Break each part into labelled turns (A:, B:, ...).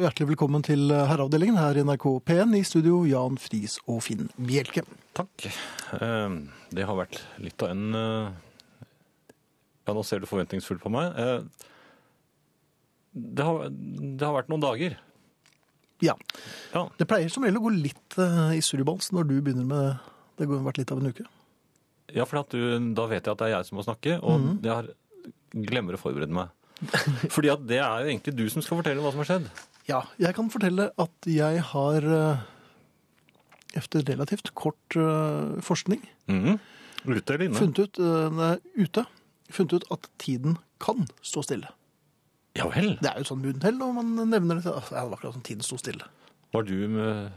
A: Og hjertelig velkommen til eh, Herreavdelingen her i NRK P1 i studio Jan Friis og Finn Bjelke.
B: Takk. Eh, Det har vært litt av en eh, Ja, nå ser du forventningsfullt på meg. Eh, Det har, det har vært noen dager.
A: Ja,
B: Ja.
A: det pleier som regel å gå litt eh, i surrebans når du begynner med det har vært litt av en uke.
B: Ja, for at du, da vet jeg at det er jeg som må snakke, og jeg har, glemmer å forberede meg. Fordi at det er jo egentlig du som skal fortelle hva som har skjedd.
A: Ja, jeg kan fortelle at jeg har eh, efter relativt kort eh, forskning
B: Mhm. Ute eller inne?
A: funnet ut, eh, nei, ute, funnet ut at tiden kan stå stille.
B: Ja vel.
A: Det er jo et sånt munnhell når man nevner det. Altså, ja, det var akkurat som tiden sto stille.
B: Var du med,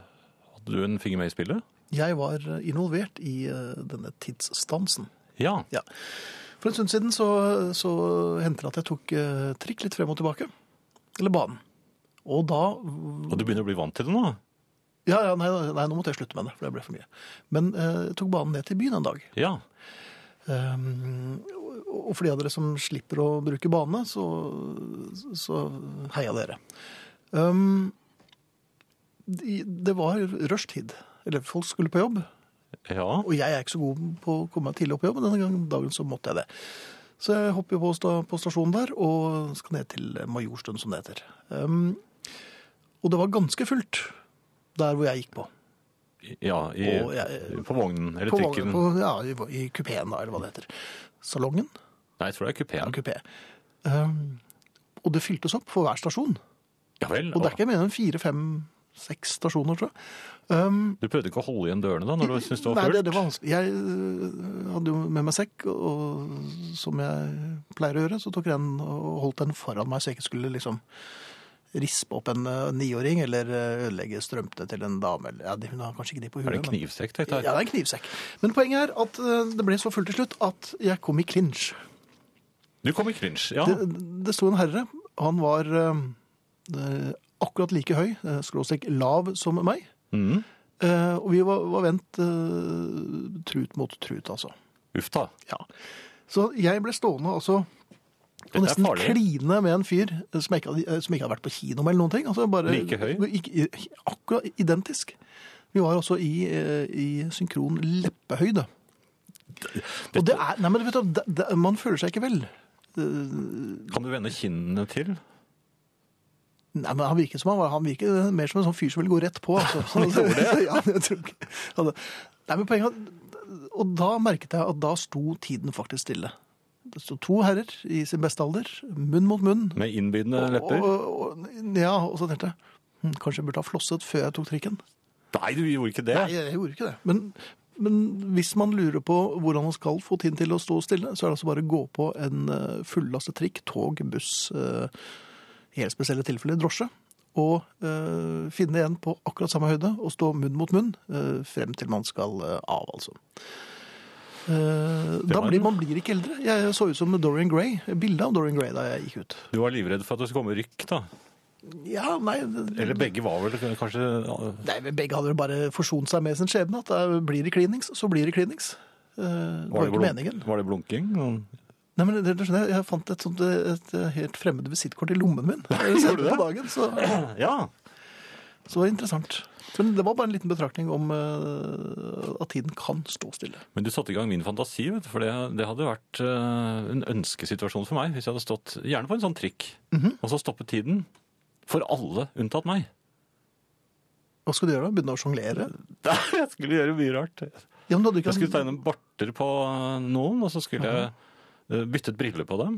B: hadde du en finger med i spillet?
A: Jeg var eh, involvert i eh, denne tidsstansen.
B: Ja.
A: Ja. For en stund siden så, så hendte det at jeg tok eh, trikk litt frem og tilbake. Eller banen. Og da
B: Og du begynner å bli vant til det nå?
A: Ja, ja nei, nei, nå måtte jeg slutte med det, for det ble for mye. Men eh, jeg tok banen ned til byen en dag.
B: Ja.
A: Ehm, og og for de av dere som slipper å bruke bane, så, så heia dere. Ehm, de- det var rushtid. Eller folk skulle på jobb.
B: Ja.
A: Og jeg er ikke så god på å komme meg tidlig opp på jobb, men denne gangen- dagen så måtte jeg det. Så jeg hopper på, sta på stasjonen der og skal ned til Majorstuen, som det heter. Ehm, og det var ganske fullt der hvor jeg gikk på.
B: ja i,
A: Og jeg-
B: på vognen, eller
A: På,
B: trikken.
A: på, ja, I i kupeen, da, eller hva det heter. Salongen.
B: Nei, jeg tror det er
A: Ja,
B: kupeen.
A: kupé. Ehm, og det fyltes opp for hver stasjon.
B: Ja vel.
A: Og det er ikke mer enn fire, fem, seks stasjoner, tror jeg. Ehm,
B: Du prøvde ikke å holde igjen dørene da, når du syntes det var
A: nei,
B: fullt?
A: det, det var vanskelig. Jeg øh, hadde jo med meg sekk, og som jeg pleier å gjøre, så tok jeg den og holdt den foran meg, så jeg ikke skulle liksom rispe opp en øh, niåring, eller øh, ødelegge strømpene til en dame. eller- Ja, det- hun har kanskje ikke de på
B: Er
A: huet.
B: det
A: men-
B: knivsekk, tenkte
A: Ja,
B: jeg?
A: det er en knivsekk. Men poenget er at øh, det ble så fullt til slutt at jeg kom i klinsj.
B: Du kom i cringe, ja.
A: Det, det sto en herre. Han var eh, akkurat like høy, eh, skråstrek lav, som meg.
B: Mhm.
A: Eh, og vi var, var vendt eh, trut mot trut, altså.
B: Uff da.
A: Ja. Så jeg ble stående altså,
B: Dette
A: og
B: er
A: nesten
B: farlig.
A: kline med en fyr eh, som jeg ikke hadde, eh, som ikke hadde vært på kino med eller noen ting. Altså, bare,
B: Like høy?
A: Ikke- i- Akkurat identisk. Vi var også i, eh, i synkron leppehøyde. Og det er, nei, men vet du, det, det, man føler seg ikke vel.
B: Kan du vende kinnene til?
A: Nei, men Han virket som han var, han virket mer som en sånn fyr som ville gå rett på. Altså. Han gjorde det? ja, jeg tror ikke. han- Nei, men poenget er at- Og da merket jeg at da sto tiden faktisk stille. Det sto to herrer i sin beste alder, munn mot munn.
B: Med innbydende
A: Og,
B: lepper?
A: og, og- ja, og så tenkte jeg hm, kanskje jeg burde ha flosset før jeg tok trikken.
B: Nei, du gjorde ikke det.
A: Nei, jeg gjorde ikke det. Men, men hvis man lurer på hvordan man skal få tiden til å stå stille, så er det altså bare å gå på en eh, fullastet trikk, tog, buss, eh, i helt spesielle tilfeller drosje, og eh, finne en på akkurat samme høyde og stå munn mot munn eh, frem til man skal eh, av, altså. Eh, da
B: var
A: blir
B: noe.
A: man blir ikke eldre. Jeg så ut som Dorian Gray. Bildet av Dorian Gray da jeg gikk ut.
B: Du var livredd for at det skulle komme rykk, da.
A: Ja, nei, det-
B: Eller begge var vel kanskje
A: nei men Begge hadde jo bare forsont seg med sin skjebne. At det er- blir det klinings, så blir det klinings. Eh, det var ikke
B: blunk-
A: meningen.
B: var det blunking?
A: Nei, men det, det, skjønner jeg. jeg fant et, sånt, eh, et eh, helt fremmed visittkort i lommen min. Gjorde
B: du det?
A: På dagen, så...
B: Ja.
A: Så det var interessant. Men det var bare en liten betraktning om eh, at tiden kan stå stille.
B: Men du satte i gang min fantasi, vet du, for det, det hadde vært eh, en ønskesituasjon for meg hvis jeg hadde stått gjerne på en sånn trikk,
A: Mhm.
B: og så stoppet tiden for alle unntatt meg.
A: Hva skulle du gjøre da? Begynne å sjonglere?
B: Jeg skulle gjøre mye rart.
A: Ja, men da hadde du
B: Jeg skulle
A: ikke...
B: tegne barter på noen, og så skulle jeg eh, byttet briller på dem.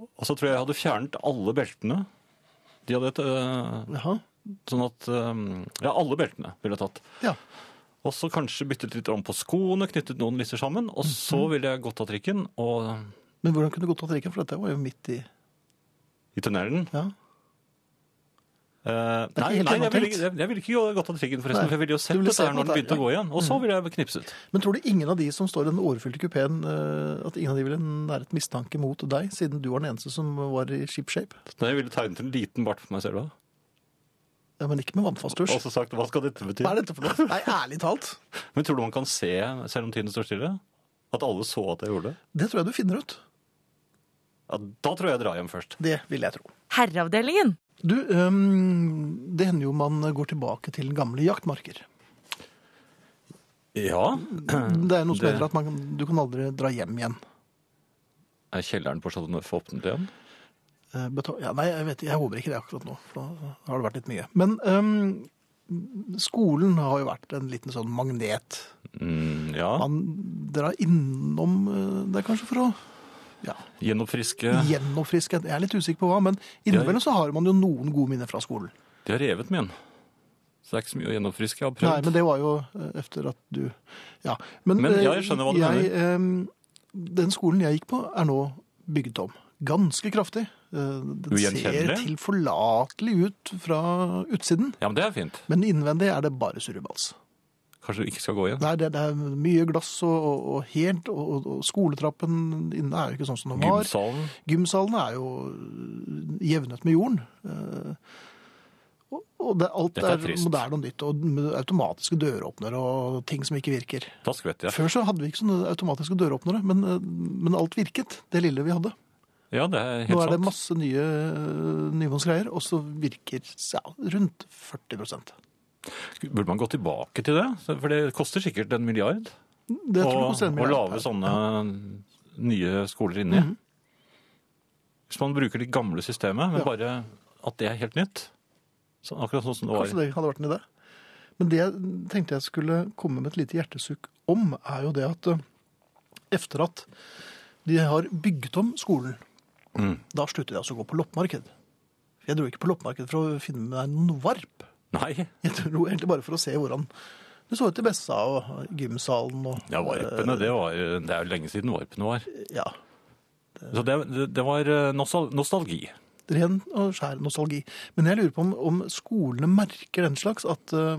B: Og så tror jeg jeg hadde fjernet alle beltene. De hadde et, eh,
A: Jaha.
B: sånn at, eh, ja, alle beltene ville jeg tatt.
A: Ja.
B: Og så kanskje byttet litt om på skoene, knyttet noen lisser sammen, og så
A: Mhm.
B: ville jeg gått av trikken og
A: Men hvordan kunne du gått av trikken? For dette var jo midt i...
B: i tunnelen.
A: Ja.
B: Eh,
A: er ikke helt
B: nei, nei jeg, ville,
A: gjennomtenkt.
B: ikke- jeg, jeg ville ikke gått av trikken forresten,
A: Nei.
B: for jeg ville jo sett
A: Du ville
B: dette
A: sett
B: her når den
A: dette her, Mhm.
B: begynte å gå igjen. Og så ville jeg knipset.
A: Men tror du ingen av de som står i den overfylte kupéen, eh, at ingen av de ville nære et mistanke mot deg, siden du var den eneste som var i ship shape?
B: Så jeg ville tegnet en liten bart for meg selv da.
A: Ja, men ikke med vannfast
B: Og
A: tusj.
B: så sagt, hva skal dette bety?
A: Hva er dette for noe? Nei, ærlig talt.
B: Men tror du man kan se, selv om tiden står stille, at alle så at jeg gjorde det?
A: Det tror jeg du finner ut.
B: Ja, da tror jeg jeg drar hjem først.
A: Det vil jeg tro.
C: Herreavdelingen.
A: Du, øhm, det hender jo man går tilbake til gamle jaktmarker.
B: Ja.
A: Det er noe som
B: Det-
A: heter at man, du kan aldri dra hjem igjen.
B: Er kjelleren på Chateau Neuf åpnet igjen?
A: Eh, betal- Ja, nei, jeg vet Jeg håper ikke det akkurat nå, for da har det vært litt mye. Men ehm, skolen har jo vært en liten sånn magnet.
B: Mm, ja.
A: Man drar innom eh, der kanskje for å ja,
B: Gjennomfriske.
A: gjennomfriske. Jeg er litt usikker på hva, men innimellom så har man jo noen gode minner fra skolen.
B: De har revet min. Så det er ikke så mye å gjennomfriske. Jeg har
A: Nei,
B: prøvd.
A: men det var jo eh, efter at du Ja.
B: Men
A: eh,
B: ja, jeg skjønner hva du
A: jeg, ehm, Den skolen jeg gikk på, er nå bygd om. Ganske kraftig. Eh, Den ser
B: Ugjenkjennelig?
A: tilforlatelig ut fra utsiden,
B: Ja, men det er fint.
A: men innvendig er det bare surrebals.
B: Kanskje du ikke skal gå igjen.
A: Nei, det, det er mye glass og, og, og helt, og, og- og skoletrappen inne er jo ikke sånn som den var.
B: Gymsalen.
A: Gymsalene er jo øh, jevnet med jorden. Eh, og- Og det, alt
B: Dette
A: er,
B: er trist.
A: moderne og nytt, og med automatiske døråpnere og ting som ikke virker.
B: Da skvetter jeg.
A: Før så hadde vi ikke sånne automatiske døråpnere, men, øh, men alt virket, det lille vi hadde.
B: Ja, det er
A: Nå
B: helt
A: er det
B: sant.
A: masse nye øh, nyvånsgreier, og så virker ja, rundt 40
B: Burde man gå tilbake til det? For det koster sikkert en milliard
A: Det tror jeg
B: å
A: koster en
B: å
A: milliard
B: lage
A: per.
B: sånne nye skoler inni.
A: Mhm.
B: Hvis man bruker det gamle systemet, men
A: Ja.
B: bare at det er helt nytt. Så akkurat sånn som det var.
A: Kanskje det hadde vært en idé. Men det jeg tenkte jeg skulle komme med et lite hjertesukk om, er jo det at eh, efter at de har bygget om skolen,
B: Mm.
A: da slutter jeg altså å gå på loppemarked. Jeg dro ikke på loppemarked for å finne meg noen varp.
B: Nei,
A: Jeg dro egentlig bare for å se hvordan det så ut i Bessa og gymsalen og eh,
B: ja, varpene, det, var, det er jo lenge siden varpene var.
A: Ja.
B: Så det, det- det var eh, nostal nostalgi.
A: Ren og skjær nostalgi. Men jeg lurer på om, om skolene merker den slags at eh,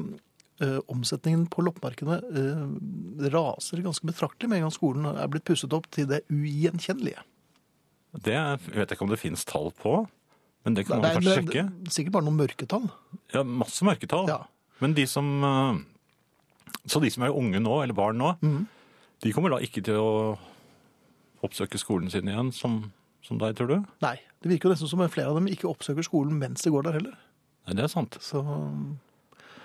A: eh, omsetningen på loppemarkedene eh, raser ganske betraktelig med en gang skolen er blitt pusset opp til det ugjenkjennelige.
B: Det vet jeg ikke om det finnes tall på, men det kan
A: Det
B: man
A: er-
B: kanskje
A: det-
B: sjekke.
A: det er Sikkert bare noen mørketall.
B: Ja, masse mørketall.
A: Ja.
B: Men de som eh, Så de som er unge nå, eller barn nå,
A: Mhm.
B: de kommer da ikke til å oppsøke skolen sin igjen, som, som deg, tror du?
A: Nei, det virker jo nesten som flere av dem ikke oppsøker skolen mens de går der heller.
B: Nei, det er sant.
A: Så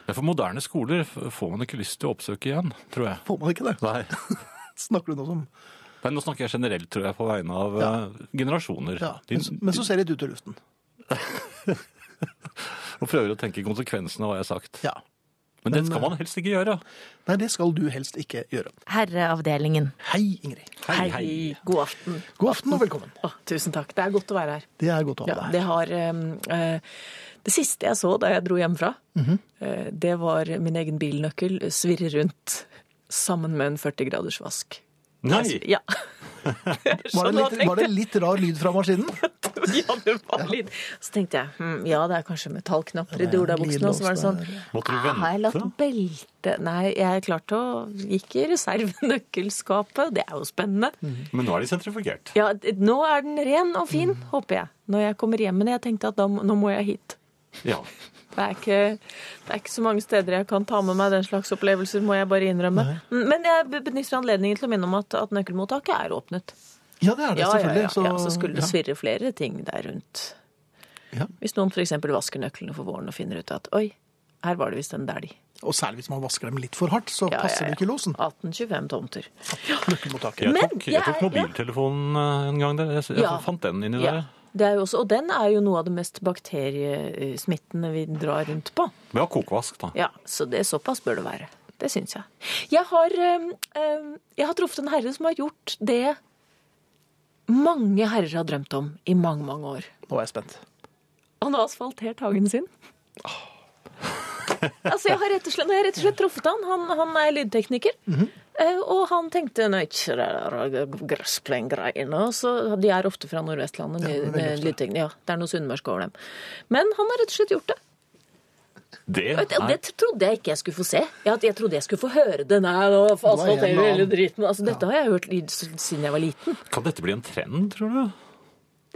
B: Ja, for moderne skoler f- får man ikke lyst til å oppsøke igjen, tror jeg.
A: får man ikke det.
B: Nei.
A: Snakker du nå som
B: Nei, nå snakker jeg generelt, tror jeg, på vegne av
A: Ja.
B: eh, generasjoner.
A: Ja.
B: De,
A: Men, så- men så ser det litt ut i luften.
B: og prøver å tenke konsekvensene av hva jeg har sagt.
A: Ja.
B: Men, det
A: eh,
B: skal man helst ikke gjøre.
A: Nei, det skal du helst ikke gjøre.
C: Herreavdelingen.
A: Hei, Ingrid.
B: Hei, hei.
C: God aften.
A: God aften og velkommen.
C: Å, tusen takk. Det er godt å være her.
A: Det er godt å ha
C: Ja,
A: deg her.
C: det, har, um, eh, det siste jeg så da jeg dro hjemmefra,
A: Mhm.
C: eh, det var min egen bilnøkkel svirre rundt sammen med en 40 graders vask.
B: Nei!
C: Altså, Ja.
A: Var det,
C: Så da
A: litt, var det litt rar lyd fra maskinen?
C: ja, det var litt. Så tenkte jeg hm, ja, det er kanskje metallknapper i dorabuksene. Og så var det sånn
B: Måtte du
C: ah, Har jeg latt
B: vente?
C: belte Nei, jeg er klar til å Gikk i reservenøkkelskapet. Det er jo spennende.
B: Men nå er de sentrifugert.
C: Ja, d- nå er den ren og fin,
A: Mm.
C: håper jeg. Når jeg kommer hjem. Men jeg tenkte at da, må- nå må jeg hit.
B: Ja.
C: Det er, ikke, det er ikke så mange steder jeg kan ta med meg den slags opplevelser, må jeg bare innrømme. Mm, Men jeg be- benytter anledningen til å minne om at, at nøkkelmottaket er åpnet.
A: Ja, det er det
C: Ja, ja,
A: selvfølgelig.
C: ja. Så, ja, så skulle det
A: ja.
C: svirre flere ting der rundt.
A: Ja.
C: Hvis noen f.eks. vasker nøklene for våren og finner ut at oi, her var det visst en dælj.
A: Og særlig hvis man vasker dem litt for hardt, så
C: Ja,
A: passer
C: ja, Ah.
A: det
C: ja.
A: ikke i låsen.
C: 1825 tomter.
A: Nøkkelmottaket.
B: Jeg
C: Men
B: tok, jeg
C: jeg
B: tok
C: er-
B: mobiltelefonen eh, en gang der. Jeg, jeg
C: Ja.
B: fant den inni
C: Ja.
B: der.
C: Det er jo også, og den er jo noe av det mest bakteriesmittende vi drar rundt på.
B: Vi har kokvask, da.
C: Ja, så det såpass bør det være. Det syns jeg. Jeg har, øhm, øhm, jeg har truffet en herre som har gjort det mange herrer har drømt om i mange, mange år.
A: Nå er jeg spent.
C: Han har asfaltert hagen sin. altså, jeg har rett og slett, jeg har rett og slett truffet han. han. Han er lydtekniker.
A: Mhm.
C: Eh, Og han tenkte «Nei, ikke det der gressplengreiene. Og så- De er ofte fra Nordvestlandet,
A: Ja, veldig
C: med, med
A: ofte.
C: lydteknikere. Ja, det er noe sunnmørsk over dem. Men han har rett og slett gjort det.
B: Det
C: Og det- og
B: er
C: det trodde jeg ikke jeg skulle få se. Jeg, jeg trodde jeg skulle få høre det. Nei, nå
A: Det var en
C: asfalterer
A: annen.
C: hele driten. Altså, dette har jeg hørt lyd s- siden jeg var liten.
B: Kan dette bli en trend, tror du?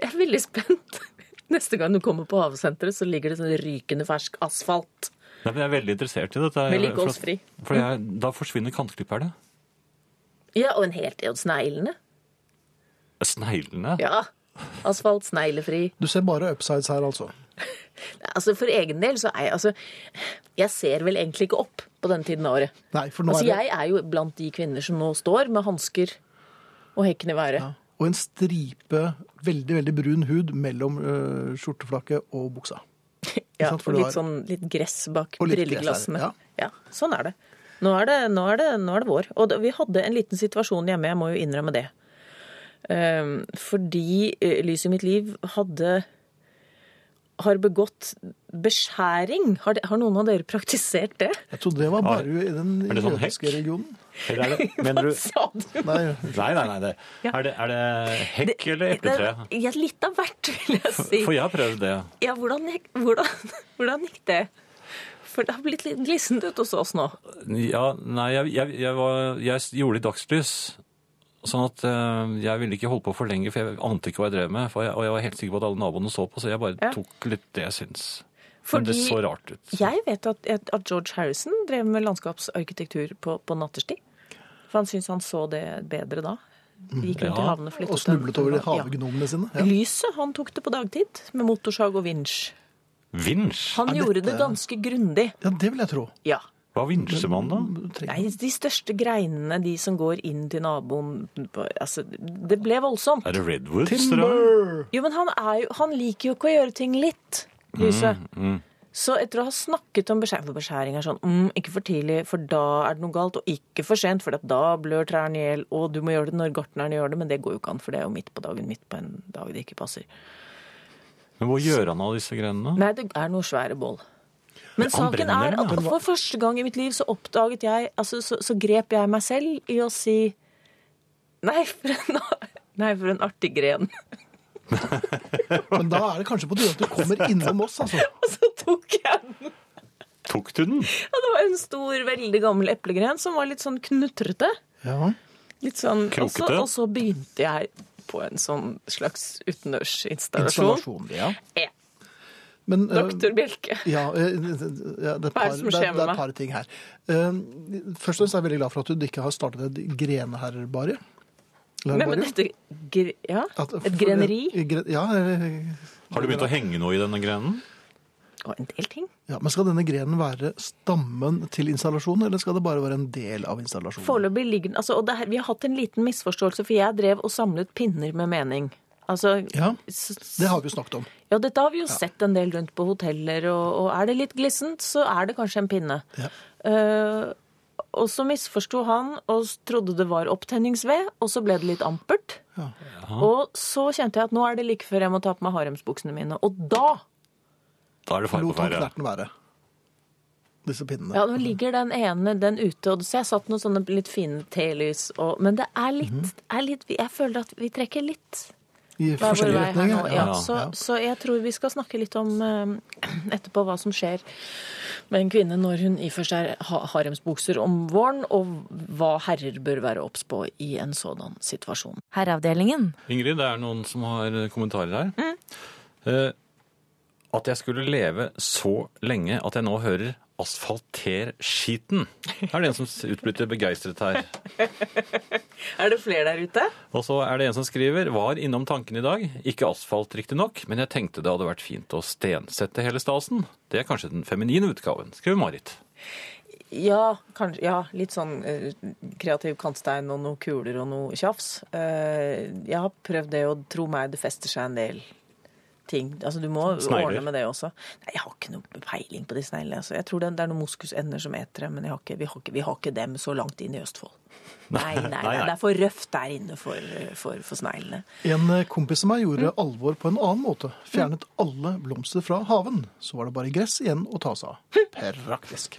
C: Jeg er veldig spent. Neste gang du kommer på Havsenteret, så ligger det sånn rykende fersk asfalt.
B: Nei, men jeg er veldig interessert i dette.
C: Vedlikeholdsfri.
B: For, for jeg, da forsvinner kantklipperne.
C: Ja, og en helt og sneglene.
B: Sneglene.
C: Ja. Asfalt, sneglefri.
A: Du ser bare upsides her, altså.
C: Altså, For egen del så er jeg altså Jeg ser vel egentlig ikke opp på denne tiden av året.
A: Nei, for nå
C: Altså,
A: er det
C: Jeg er jo blant de kvinner som nå står med hansker og hekken i været.
A: ja. Og en stripe veldig, veldig brun hud mellom øh, skjorteflakket og buksa.
C: Ja,
A: sant, for
C: og
A: du
C: litt,
A: har-
C: sånn, litt gress bak
A: Og litt gress
C: brilleglassene.
A: her,
C: ja. sånn er det. Nå er det, nå er det, nå er det vår. Og da- vi hadde en liten situasjon hjemme, jeg må jo innrømme det. Ehm, fordi eh, Lys i mitt liv hadde har begått beskjæring. Har, de, har noen av dere praktisert det?
A: Jeg trodde det var
B: Har-
A: bare i den
B: er det sånn
A: jødiske
B: hekk?
A: regionen.
B: Eller er det, mener
C: Hva
B: du
C: sa du?
A: Nei,
B: Nei, nei, nei. Det. Er, det, er det hekk eller epletre?
C: Det- Ja, litt av hvert, vil jeg si.
B: For jeg har prøvd det.
C: Ja, hvordan, gikk- hvordan, hvordan gikk det? For det har blitt litt glissent ut hos oss nå.
B: Ja, nei, jeg, jeg, jeg, var, jeg gjorde det i dagslys. Sånn at eh, jeg ville ikke holde på for lenge, for jeg ante ikke hva jeg drev med. For jeg, og jeg var helt sikker på at alle naboene så på, så jeg bare
C: Ja.
B: tok litt det jeg syns.
C: Fordi-
B: Men det så rart ut.
C: Jeg vet at, at George Harrison drev med landskapsarkitektur på, på natterstid. For han syntes han så det bedre da. Gikk rundt
B: Ja,
C: i havene flyttet
A: Mm. og snublet over de
C: den.
A: havgnomene sine.
C: Ja.
A: Ja.
C: Lyset han tok det på dagtid med motorsag og vinsj.
B: Vinsj?
C: Han
A: Er
C: gjorde det
A: dette-
C: ganske grundig.
A: ja, det vil jeg tro.
C: Ja.
B: Hva vinsjer man da?
A: Trenger-
C: Nei, de største greinene, de som går inn til naboen altså, Det ble voldsomt.
B: Er det Redwoods? tror jeg?
A: Timber!
C: Jo, men han, er jo, han liker jo ikke å gjøre ting litt, Lyse. Så etter å ha snakket om beskjæring, for beskjæring er sånn mm, Ikke for tidlig, for da er det noe galt. Og ikke for sent, for at da blør trærne i hjel. Og du må gjøre det når gartnerne gjør det, men det går jo ikke an, for det er jo midt på dagen. Midt på en dag det ikke passer.
B: Men hva gjør han av disse grenene?
C: Nei, det er noe svære bål. Men
B: Han
C: saken
B: brenner
C: er
B: dem,
C: at
B: ja.
C: for første gang i mitt liv så oppdaget jeg altså, så, så grep jeg meg selv i å si Nei, for en, nei, for en artig gren.
A: Men da er det kanskje på tide at du kommer innom oss, altså.
C: Og så tok jeg den.
B: Tok du den?
C: Ja, det var en stor, veldig gammel eplegren som var litt sånn knutrete.
A: Ja.
C: Litt sånn, og så-
B: Krokete.
C: Og så begynte jeg på en sånn slags utendørsinstallasjon.
A: Installasjon, ja.
C: Ja,
A: Men, eh,
C: Doktor Bjelke.
A: Ja, eh, ja, det er et
C: Hva er
A: par,
C: det som
A: det
C: skjer
A: er, det
C: med
A: er
C: meg?
A: et par ting her. Eh, Først og fremst er jeg veldig glad for at du ikke har startet et greneherrbare.
C: Men, men dette gre- Ja, et greneri
A: eh, Ja, eh,
B: Har du begynt å henge noe i denne grenen?
C: og en del ting.
A: ja, men skal denne grenen være stammen til installasjonen, eller skal det bare være en del av installasjonen?
C: Foreløpig ligger den altså, og det her, Vi har hatt en liten misforståelse, for jeg drev og samlet pinner med mening. Altså,
A: Ja,
C: s-
A: det har vi jo snakket om.
C: Ja, dette har vi jo sett en del rundt på hoteller, og, og er det litt glissent, så er det kanskje en pinne.
A: Ja.
C: Eh, og så misforsto han og s- trodde det var opptenningsved, og så ble det litt ampert. Og så kjente jeg at nå er det like før jeg må ta på meg haremsbuksene mine. Og da!
B: Da er det fare på
A: Lot han
B: ferde.
A: knerten være. Disse pinnene.
C: Ja, nå ligger den ene den ute, og så jeg satt noen sånne litt fine telys og Men det er litt, er litt Jeg føler at vi trekker litt
A: I
C: hver vår
A: forskjellige
C: vei her nå.
A: retninger.
C: Ja,
B: Ja,
C: så,
A: ja.
C: så jeg tror vi skal snakke litt om eh, etterpå hva som skjer med en kvinne når hun ifører seg ha- haremsbukser om våren, og hva herrer bør være obs på i en sådan situasjon.
D: Herreavdelingen.
B: Ingrid, det er noen som har kommentarer her. Eh, at jeg skulle leve så lenge at jeg nå hører asfalter skiten. Er det en som utbryter begeistret her.
C: Er det flere der ute?
B: Og så er det en som skriver var innom tanken i dag. Ikke asfalt riktignok, men jeg tenkte det hadde vært fint å stensette hele stasen. Det er kanskje den feminine utgaven, skriver Marit.
C: Ja, kanskje, ja litt sånn eh, kreativ kantstein og noen kuler og noe tjafs. Eh, jeg har prøvd det, og tro meg, det fester seg en del ting. Altså, du må
B: Snegler.
C: ordne med det også. Nei, jeg har ikke noe peiling på de sneglene. Altså. Jeg tror det, det er noen moskusender som eter det, men jeg har ikke, vi, har ikke, vi har ikke dem så langt inn i Østfold. Nei, nei, nei,
B: nei.
C: det er for røft der inne for, eh, for, for sneglene.
A: En eh, kompis av meg
C: Mm.
A: gjorde alvor på en annen måte. Fjernet alle blomster fra haven. Så var det bare gress igjen å ta seg av.
C: Hm.
A: Praktisk.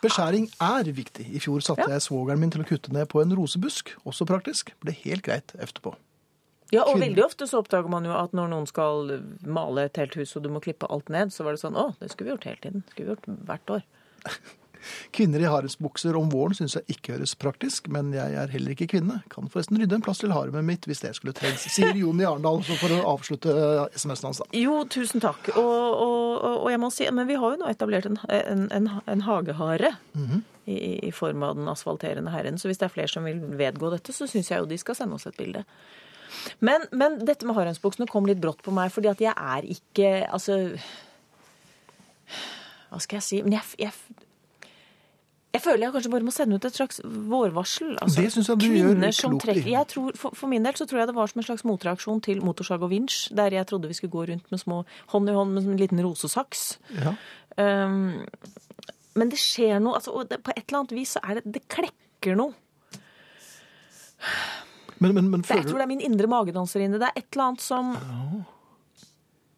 A: Beskjæring er viktig. I fjor satte jeg svogeren min til å kutte ned på en rosebusk. Også praktisk. Ble helt greit etterpå.
C: Ja, og
A: Kvinner.
C: veldig ofte så oppdager man jo at når noen skal male et helt hus og du må klippe alt ned, så var det sånn å, det skulle vi gjort hele tiden. Det skulle vi gjort hvert år.
A: Kvinner i haremsbukser om våren syns jeg ikke høres praktisk, men jeg er heller ikke kvinne. Kan forresten rydde en plass til haremet mitt hvis det skulle trengs, sier Jon Jarendal så for å avslutte eh, SMS-en hans. da.
C: Jo, tusen takk. Og, og, og- og jeg må si, men vi har jo nå etablert en, en, en, en hagehare i, i- i form av den asfalterende herren. Så hvis det er flere som vil vedgå dette, så syns jeg jo de skal sende oss et bilde. Men, men dette med haremsbuksene kom litt brått på meg, fordi at jeg er ikke Altså Hva skal jeg si? Men jeg, f- jeg, f- jeg føler jeg kanskje bare må sende ut et slags vårvarsel. Altså,
A: Det synes jeg du gjør
C: kvinner som
A: klokt i.
C: trekker jeg tror, for, for min del så tror jeg det var som en slags motreaksjon til motorsag og vinsj, der jeg trodde vi skulle gå rundt med små hånd i hånd med som en liten rosesaks.
A: Ja.
C: Um, men det skjer noe altså, og det, På et eller annet vis så er det Det klekker noe.
A: Men, men, men
C: Det, jeg
A: føler
C: tror
A: du
C: det er min indre magedanserinne. Det er et eller annet som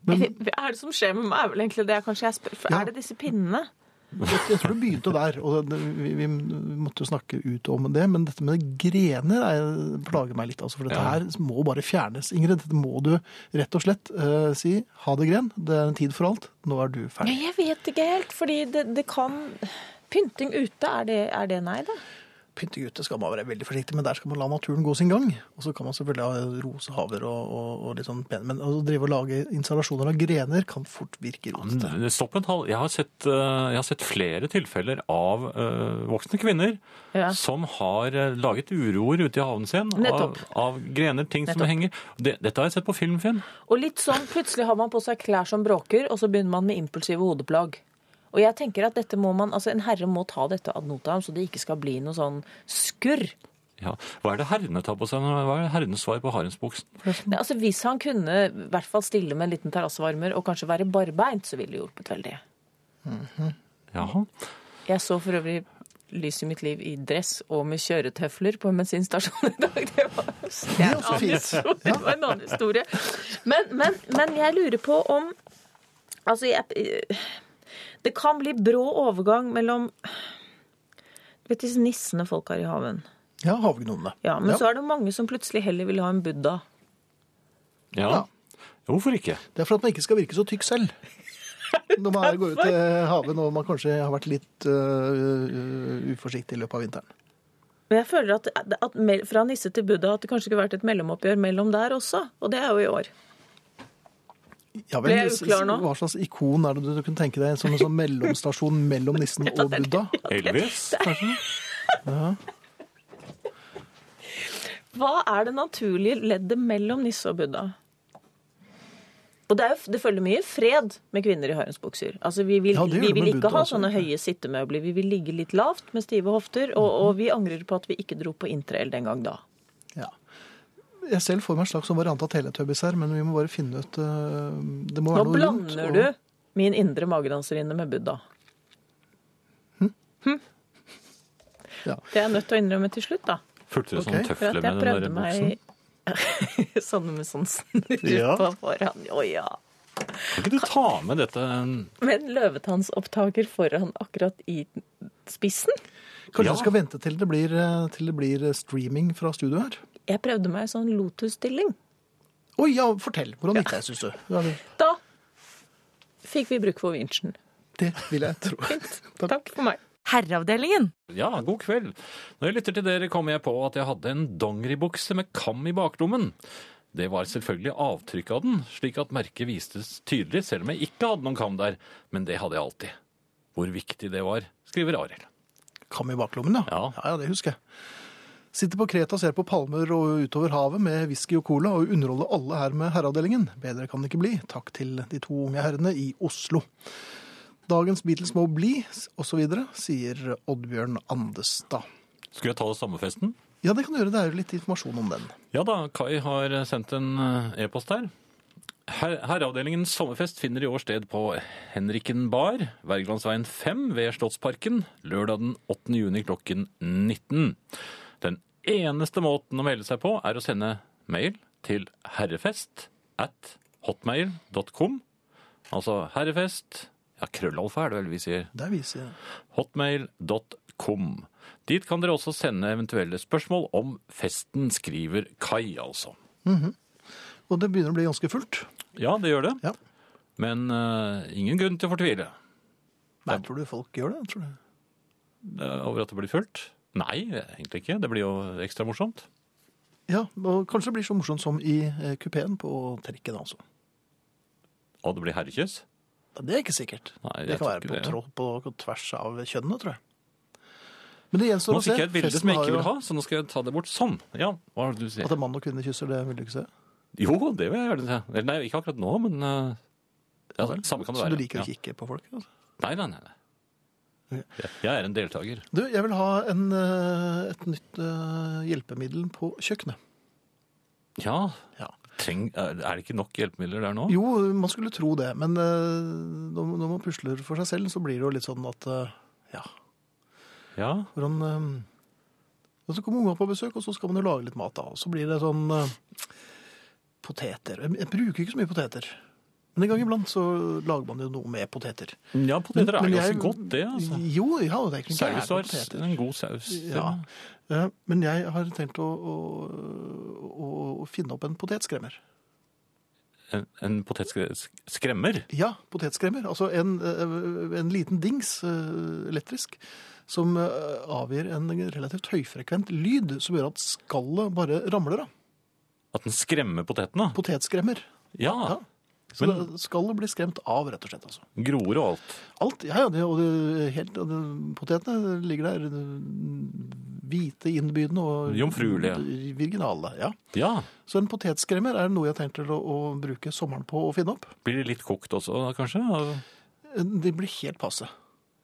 A: men,
C: Hva er det som skjer med meg? Er vel egentlig det jeg kanskje jeg spør, for
A: Ja.
C: Er det disse pinnene?
A: Jeg tror det begynte der, og det, vi, vi måtte jo snakke ut om det. Men dette med grener er, plager meg litt, altså, for dette
B: Ja.
A: her må bare fjernes. Ingrid, dette må du rett og slett eh, si. Ha det, gren. Det er en tid for alt. Nå er du
C: Ja,
A: ferdig.
C: jeg vet ikke helt, fordi det, det kan Pynting ute, er det, er det nei, da?
A: Pynte gutter skal man være veldig forsiktig med, der skal man la naturen gå sin gang. Og så kan man selvfølgelig ha rosehaver og, og, og litt sånn pen, men å drive og lage installasjoner av grener kan fort virke
C: Mm.
A: rotete.
B: Men Stopp en halv. Jeg har sett, eh, jeg har sett flere tilfeller av eh, voksne kvinner
C: Ja.
B: som har eh, laget uroer ute i haven sin av,
C: Nettopp.
B: av grener, ting som
C: Nettopp.
B: henger. Det, dette har jeg sett på film, Finn.
C: Og litt sånn, plutselig har man på seg klær som bråker, og så begynner man med impulsive hodeplagg. Og jeg tenker at dette må man, altså en herre må ta dette ad notam, så det ikke skal bli noe sånn skurr.
B: Ja. Hva er det herrene tar på seg? nå? Hva er det herrenes svar på harensbuksen?
C: Nei, altså Hvis han kunne i hvert fall stille med en liten terrassevarmer og kanskje være barbeint, så ville det hjulpet veldig.
B: Jaha.
C: Jeg så for øvrig Lys i mitt liv i dress og med kjøretøfler på en bensinstasjon i dag. Det var, det er en
A: også
C: annen
A: fint.
C: historie. Det var en annen historie. Men, men, men jeg lurer på om Altså, jeg Det kan bli brå overgang mellom Du vet disse nissene folk har i haven.
A: Ja, havgnomene.
C: Ja, Men
A: Ja.
C: så er det mange som plutselig heller vil ha en buddha.
B: Ja.
A: Ja.
B: Hvorfor ikke?
A: Det er for at man ikke skal virke så tykk selv. Når man går ut i haven og man kanskje har vært litt øh, uforsiktig i løpet av vinteren.
C: Men jeg føler at, at mel- fra nisse til Buddha at det kanskje skulle vært et mellomoppgjør mellom der også. Og det er jo i år.
A: Ja,
C: Ble jeg uklar nå?
A: Hva slags ikon er det du, du kunne tenke deg som en sånn mellomstasjon mellom nissen og Buddha?
B: Elvis?
C: Hva er det naturlige leddet mellom nisse og Buddha? Og det, er jo, det følger mye fred med kvinner i harensbukser. Altså, vi vil,
A: Ja, det gjør
C: vi
A: det
C: vil
A: med
C: ikke
A: Buddha
C: ha
A: også.
C: sånne høye sittemøbler. Vi vil ligge litt lavt med stive hofter. Og, og vi angrer på at vi ikke dro på interrail den gang da.
A: Ja. Jeg selv får meg en slags sånn variant av Teletubbies her, men vi må bare finne ut øh, Det må
C: Nå
A: være noe rundt.
C: blander du min indre magedanserinne med Buddha. Hm?
A: Ja.
C: Det er jeg nødt til å innrømme til slutt, da.
B: Fulgte du
A: Ok.
B: sånn
C: For
B: tøfle
C: at
B: med
C: jeg
B: den der
C: prøvde
B: buksen?
C: meg Sånne med sånn snurr
A: Ja.
C: på foran. Å ja.
B: Kan ikke du ta med dette eh,
C: Med en løvetannsopptaker foran akkurat i spissen.
A: Kanskje
B: Ja.
A: vi skal vente til det, blir, øh, til det blir øh, streaming fra studio her?
C: Jeg prøvde meg i sånn lotus-stilling.
A: Å ja, fortell. Hvordan gikk det, syns du? Ja, det-
C: Da fikk vi bruk for vinsjen.
A: det vil jeg tro. Takk.
C: Takk for meg.
D: Herreavdelingen.
B: Ja, god kveld. Når jeg lytter til dere, kommer jeg på at jeg hadde en dongeribukse med kam i baklommen. Det var selvfølgelig avtrykk av den, slik at merket vistes tydelig, selv om jeg ikke hadde noen kam der. Men det hadde jeg alltid. Hvor viktig det var, skriver Arild.
A: Kam i baklommen, ja.
B: Ja.
A: ja. Ja, det husker jeg. Sitter på Kreta, ser på palmer og utover havet med whisky og cola og underholder alle her med herreavdelingen. Bedre kan det ikke bli. Takk til de to unge herrene i Oslo. Dagens Beatles må bli, osv., sier Oddbjørn Andestad.
B: Skulle jeg ta sommerfesten?
A: Ja, det kan du gjøre. Det er jo litt informasjon om den.
B: Ja da, Kai har sendt en eh, e-post her. Her Herreavdelingens sommerfest finner i år sted på Henriken bar, Wergelandsveien 5 ved Slottsparken, lørdag den 8. juni klokken 19. Den eneste måten å melde seg på er å sende mail til herrefest at hotmail.com. Altså herrefest Ja, krøllalfa er det vel vi sier
A: Der viser jeg.
B: hotmail.com. Dit kan dere også sende eventuelle spørsmål om festen, skriver Kai, altså.
A: Og det begynner å bli ganske fullt.
B: Ja, det gjør det.
A: Ja.
B: Men eh, ingen grunn til å fortvile
A: Nei, tror du folk gjør det? Tror du?
B: eh, over at det blir fullt. Nei, egentlig ikke. Det blir jo ekstra morsomt.
A: Ja, og kanskje det blir så morsomt som i eh, kupeen på trikken, altså.
B: Og det blir herrekyss.
A: Ja, Det er ikke sikkert.
B: Nei,
A: det
B: jeg
A: kan
B: tror
A: være
B: ikke
A: på,
B: det, ja.
A: tro- på tvers av kjønnene, tror jeg. Men det gjenstår
B: Nå
A: å se.
B: fikk jeg et bilde
A: Festen
B: som jeg
A: har
B: ikke
A: jo-
B: vil ha, så nå skal jeg ta det bort sånn. Ja, hva er det du
A: At
B: sier?
A: en mann og kvinne kysser, det vil du ikke se?
B: Jo, det vil jeg gjerne se. Eller Nei, ikke akkurat nå, men eh, ja, samme kan det
A: Så
B: være.
A: du liker å
B: ja.
A: kikke på folk? Altså.
B: Nei, nei, nei. nei. Jeg er en deltaker.
A: Du, jeg vil ha en, eh, et nytt eh, hjelpemiddel på kjøkkenet.
B: Ja,
A: Ja.
B: treng, er er det ikke nok hjelpemidler der nå?
A: Jo, man skulle tro det, men eh, når når man pusler for seg selv, så blir det jo litt sånn at eh, ja,
B: Ja,
A: hvordan eh, og Så kommer unga på besøk, og så skal man jo lage litt mat, da. Og så blir det sånn eh, poteter. Jeg, jeg bruker ikke så mye poteter. Men en gang iblant så lager man jo noe med poteter.
B: ja poteter er
A: Men- men
B: ganske
A: jeg-
B: godt det, altså.
A: Jo, ja, det er ikke noe gærent med
B: Sauesvars,
A: poteter.
B: en god saus.
A: Ja. Eh, Men jeg har tenkt å, å, å, å finne opp en potetskremmer.
B: En, en potetskremmer?
A: Ja, potetskremmer. Altså en, eh, en liten dings, eh, elektrisk, som eh, avgir en relativt høyfrekvent lyd som gjør at skallet bare ramler av.
B: At den skremmer potetene?
A: Potetskremmer.
B: Ja.
A: Ja. Så
B: Men-
A: det- skallet blir skremt av, rett og slett. altså.
B: Groer og alt.
A: Alt, ja, ja, det, og det, helt, og det, potetene ligger der eh, hvite, innbydende og
B: Jomfruelige.
A: virginale. ja.
B: Ja.
A: Så en potetskremmer er noe jeg har tenkt til å, å bruke sommeren på å finne opp.
B: Blir det litt kokt også, da, kanskje? Ja.
A: De blir helt passe.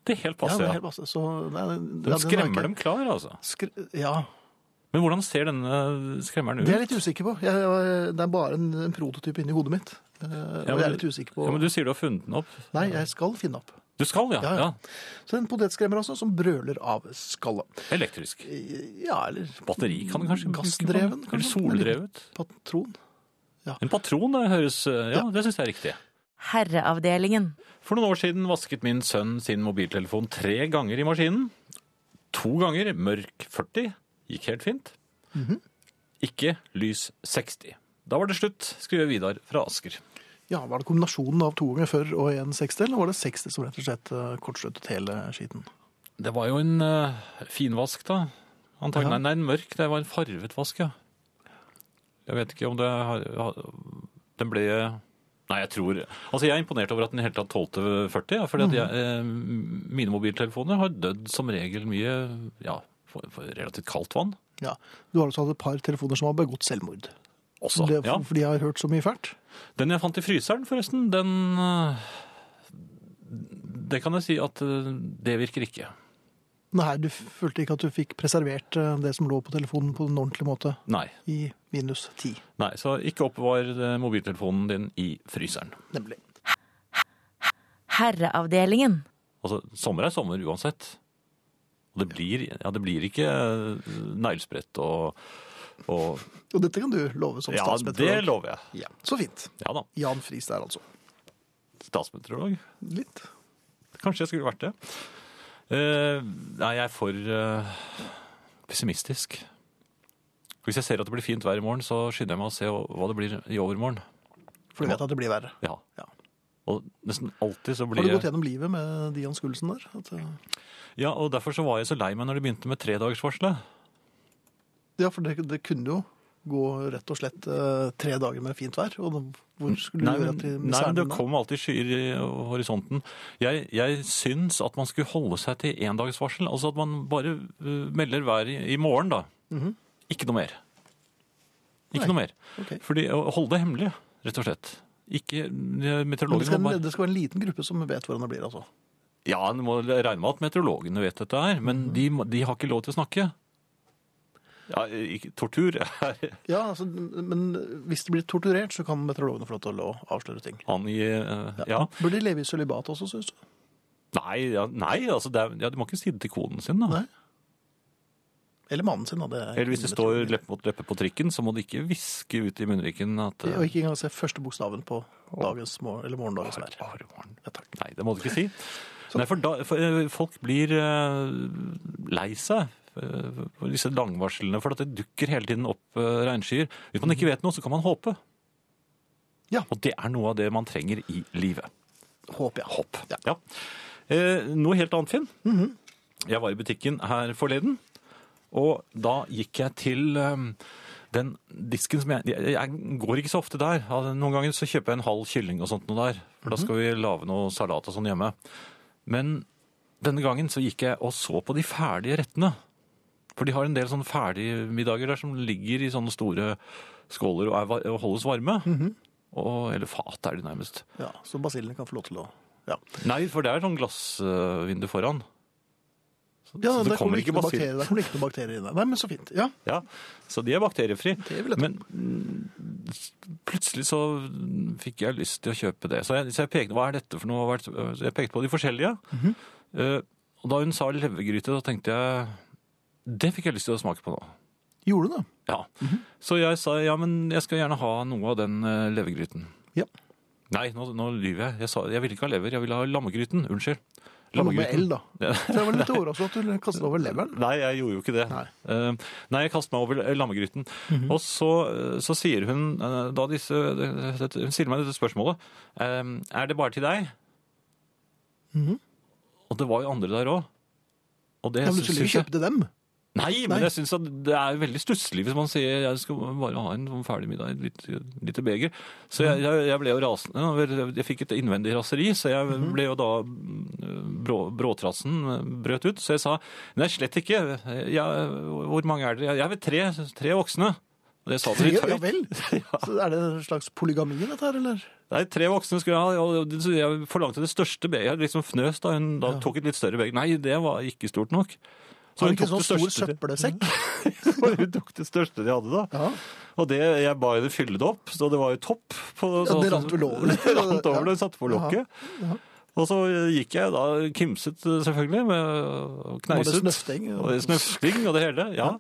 B: Det er helt
A: ja,
B: passe,
A: det er
B: ja.
A: helt passe. Så, nei, den-
B: De
A: ja, den har
B: skremmer
A: ikke-
B: dem klar, altså.
A: Skre, ja,
B: Men hvordan ser denne eh, skremmeren ut?
A: det er jeg litt usikker på. Jeg, jeg, det er bare en, en prototyp inni hodet mitt. Eh, og jeg er
B: men-
A: litt usikker på
B: Ja, men du sier du har funnet den opp.
A: Nei, jeg skal finne opp.
B: Du skal, ja.
A: Ja,
B: ja,
A: ja. Så en potetskremmer altså, som brøler av skallet.
B: Elektrisk.
A: Ja, eller Mm,
B: Batteri kan du kanskje bruke på den?
A: Gassdreven, kanskje?
B: Eller soldrevet.
A: patron.
B: En patron det høres eh, Ja, det syns jeg er riktig.
D: Herreavdelingen.
B: For noen år siden vasket min sønn sin mobiltelefon tre ganger i maskinen. To ganger mørk 40. Gikk helt fint. Ikke lys 60. Da var det slutt, skriver Vidar fra Asker.
A: Ja, Var det kombinasjonen av to ganger før og en seksdel, eller var det 60 som rett og slett eh, kortsluttet hele skiten?
B: Det var jo en eh, finvask, da. Antagelig.
A: Ja.
B: Nei, nei, en mørk. Det var en farvet vask, ja. Jeg vet ikke om det har har- Den ble Nei, jeg tror Altså, jeg er imponert over at den i hele tatt tålte 40. Ja, fordi at jeg,
A: Mhm.
B: eh, mine mobiltelefoner har dødd som regel mye Ja, for, for relativt kaldt vann
A: Ja. Du har altså hatt et par telefoner som har begått selvmord.
B: også.
A: det,
B: ja.
A: Fordi jeg har hørt så mye fælt.
B: Den jeg fant i fryseren, forresten, den eh, Det kan jeg si at eh, det virker ikke.
A: Nei, du følte ikke at du fikk preservert eh, det som lå på telefonen på en ordentlig måte
B: Nei.
A: i minus 10,
B: Nei, så ikke oppbevar eh, mobiltelefonen din i fryseren.
A: nemlig.
D: Herreavdelingen.
B: Altså, sommer er sommer uansett. Og det blir, ja, det blir ikke eh, neglesprett og, og
A: Og dette kan du love som
B: Ja, det
A: statsmeteorolog.
B: lover jeg.
A: Ja, så fint.
B: Ja da.
A: Jan Friis der, altså.
B: Statsmeteorolog.
A: Litt.
B: Kanskje jeg skulle vært det. Eh, nei, jeg er for eh, pessimistisk. Hvis jeg ser at det blir fint vær i morgen, så skynder jeg meg å se hva det blir i overmorgen.
A: For du vet at det blir verre.
B: Ja.
A: Ja.
B: Og nesten alltid så blir
A: Har du gått
B: jeg
A: gjennom livet med Dian Skulsen der? At, eh,
B: Ja, og derfor så var jeg så lei meg når de begynte med tredagersvarselet.
A: ja, for det, det kunne jo gå rett og slett eh, tre dager med fint vær. Og da- hvor skulle
B: Mm. Nei,
A: du gjøre
B: men,
A: at de- med
B: nei, men det
A: særene?
B: kom alltid skyer i horisonten. Jeg, jeg syns at man skulle holde seg til én dags varsel. Altså at man bare øh, melder været i, i morgen, da. Ikke noe mer.
A: Mhm.
B: Ikke
A: Nei.
B: noe mer.
A: Ok.
B: Fordi å holde det hemmelig, rett og slett. Ikke
A: Men det,
B: meteorologene
A: skal,
B: må
A: en-
B: bare
A: det skal være en liten gruppe som vet hvordan det blir, altså.
B: Ja, en må regne med at meteorologene vet dette her,
A: Mhm.
B: men de, må- de har ikke lov til å snakke. Ja, ikke, tortur er
A: Ja, altså, Men hvis de blir torturert, så kan meteorologene få lov til å avsløre ting.
B: angi øh, Ja.
A: Bør de leve i sølibat også, syns du?
B: Nei, ja, nei altså det er, ja, de må ikke si det til koden sin, da.
A: Nei. Eller mannen sin, da. Det er
B: Eller hvis det
A: ikke
B: står
A: meteorologi.
B: leppe mot leppe på trikken, så må du ikke hviske ut i munnriken at eh,
A: Og ikke engang se første bokstaven på dagens, mor- eller morgendagens vær.
B: Bare morgen.
A: Ja, takk.
B: Nei, det må du ikke si. Nei, for, da, for eh, folk blir eh, lei seg eh, for disse langvarslene, for at det dukker hele tiden opp eh, regnskyer. Hvis man ikke vet noe, så kan man håpe.
A: Ja.
B: Og det er noe av det man trenger i livet.
A: Håper jeg.
B: Hopp.
A: Ja.
B: Ja. Eh, noe helt annet, Finn. Jeg var i butikken her forleden, og da gikk jeg til eh, den disken som jeg, jeg Jeg går ikke så ofte der. Altså, Noen ganger så kjøper jeg en halv kylling og sånt noe der, for da skal vi lage noe salat og sånn hjemme. Men denne gangen så gikk jeg og så på de ferdige rettene. For de har en del sånne ferdigmiddager der som ligger i sånne store skåler og, er, var- og holdes varme. og, eller fat er de nærmest.
A: Ja, Så basillene kan få lov til å Ja.
B: Nei, for det er sånn glassvindu foran.
A: Ja,
B: så det kommer ikke
A: noen
B: bakterier.
A: bakterier. Der kommer det ikke noen bakterier inn. Nei, men så fint. Ja,
B: Ja, Så de er bakteriefri.
A: Det vil jeg tro.
B: Men mm, plutselig så fikk jeg lyst til å kjøpe det. Så jeg, så jeg pekte hva er dette for noe? Hva er det- så Jeg pekte på de forskjellige.
A: Mhm.
B: Eh, og da hun sa levergryte, da tenkte jeg det fikk jeg lyst til å smake på nå.
A: gjorde det.
B: Ja.
A: Mhm.
B: Så jeg sa ja, men jeg skal gjerne ha noe av den eh, levergryten.
A: Ja.
B: Nei, nå, nå lyver jeg. Jeg, sa, jeg ville ikke ha lever, jeg ville ha lammegryten. Unnskyld.
A: Det var med L, da.
B: Ja.
A: Så jeg var litt overrasket at du kastet over leveren.
B: Nei, jeg gjorde jo ikke det.
A: Nei. Mhm.
B: Eh, nei jeg kastet meg over eh, lammegryten. Og så, eh, så sier hun eh, da disse eh, dette, Hun stiller meg dette spørsmålet. eh, er det bare til deg?
A: Mhm.
B: Og det var jo andre der òg. Og det
A: Ja, men du
B: syns
A: skulle ikke
B: jeg
A: kjøpe til dem.
B: Nei, men
A: Nei.
B: jeg syns at det er veldig stusslig hvis man sier jeg skal bare ha en sånn ferdig middag, et lite, lite beger. Så jeg, jeg, jeg ble jo rasende. over- Jeg fikk et innvendig raseri, så
A: Mhm.
B: jeg ble jo da mm, brå, Bråtrassen brøt ut. Så jeg sa nei, slett ikke. Jeg, hvor mange er dere? Jeg er ved tre, tre voksne. Og det sa de litt
A: Ja
B: høyt.
A: vel. Så er det en slags polygami, dette her, eller?
B: Nei, tre voksne skulle jeg ha. og så Jeg forlangte det største begeret. Jeg Liksom fnøs da hun da tok et litt større beger. Nei, det var ikke stort nok. Så
A: Har
B: hun
A: du ikke
B: tok
A: sånn
B: det
A: stor
B: største-
A: søppelsekk?
B: hun tok det største de hadde, da.
A: Ja.
B: Og det, jeg ba henne fylle det opp, så det var jo topp. På, sånn
A: Ja, det rant vel over litt.
B: Det rant over det,
A: Ja.
B: hun satte på lokket. Og så gikk jeg da, kimset selvfølgelig, med,
A: Var
B: og
A: det
B: knauset.
A: snøfting?
B: Og det snøfting og det hele, ja.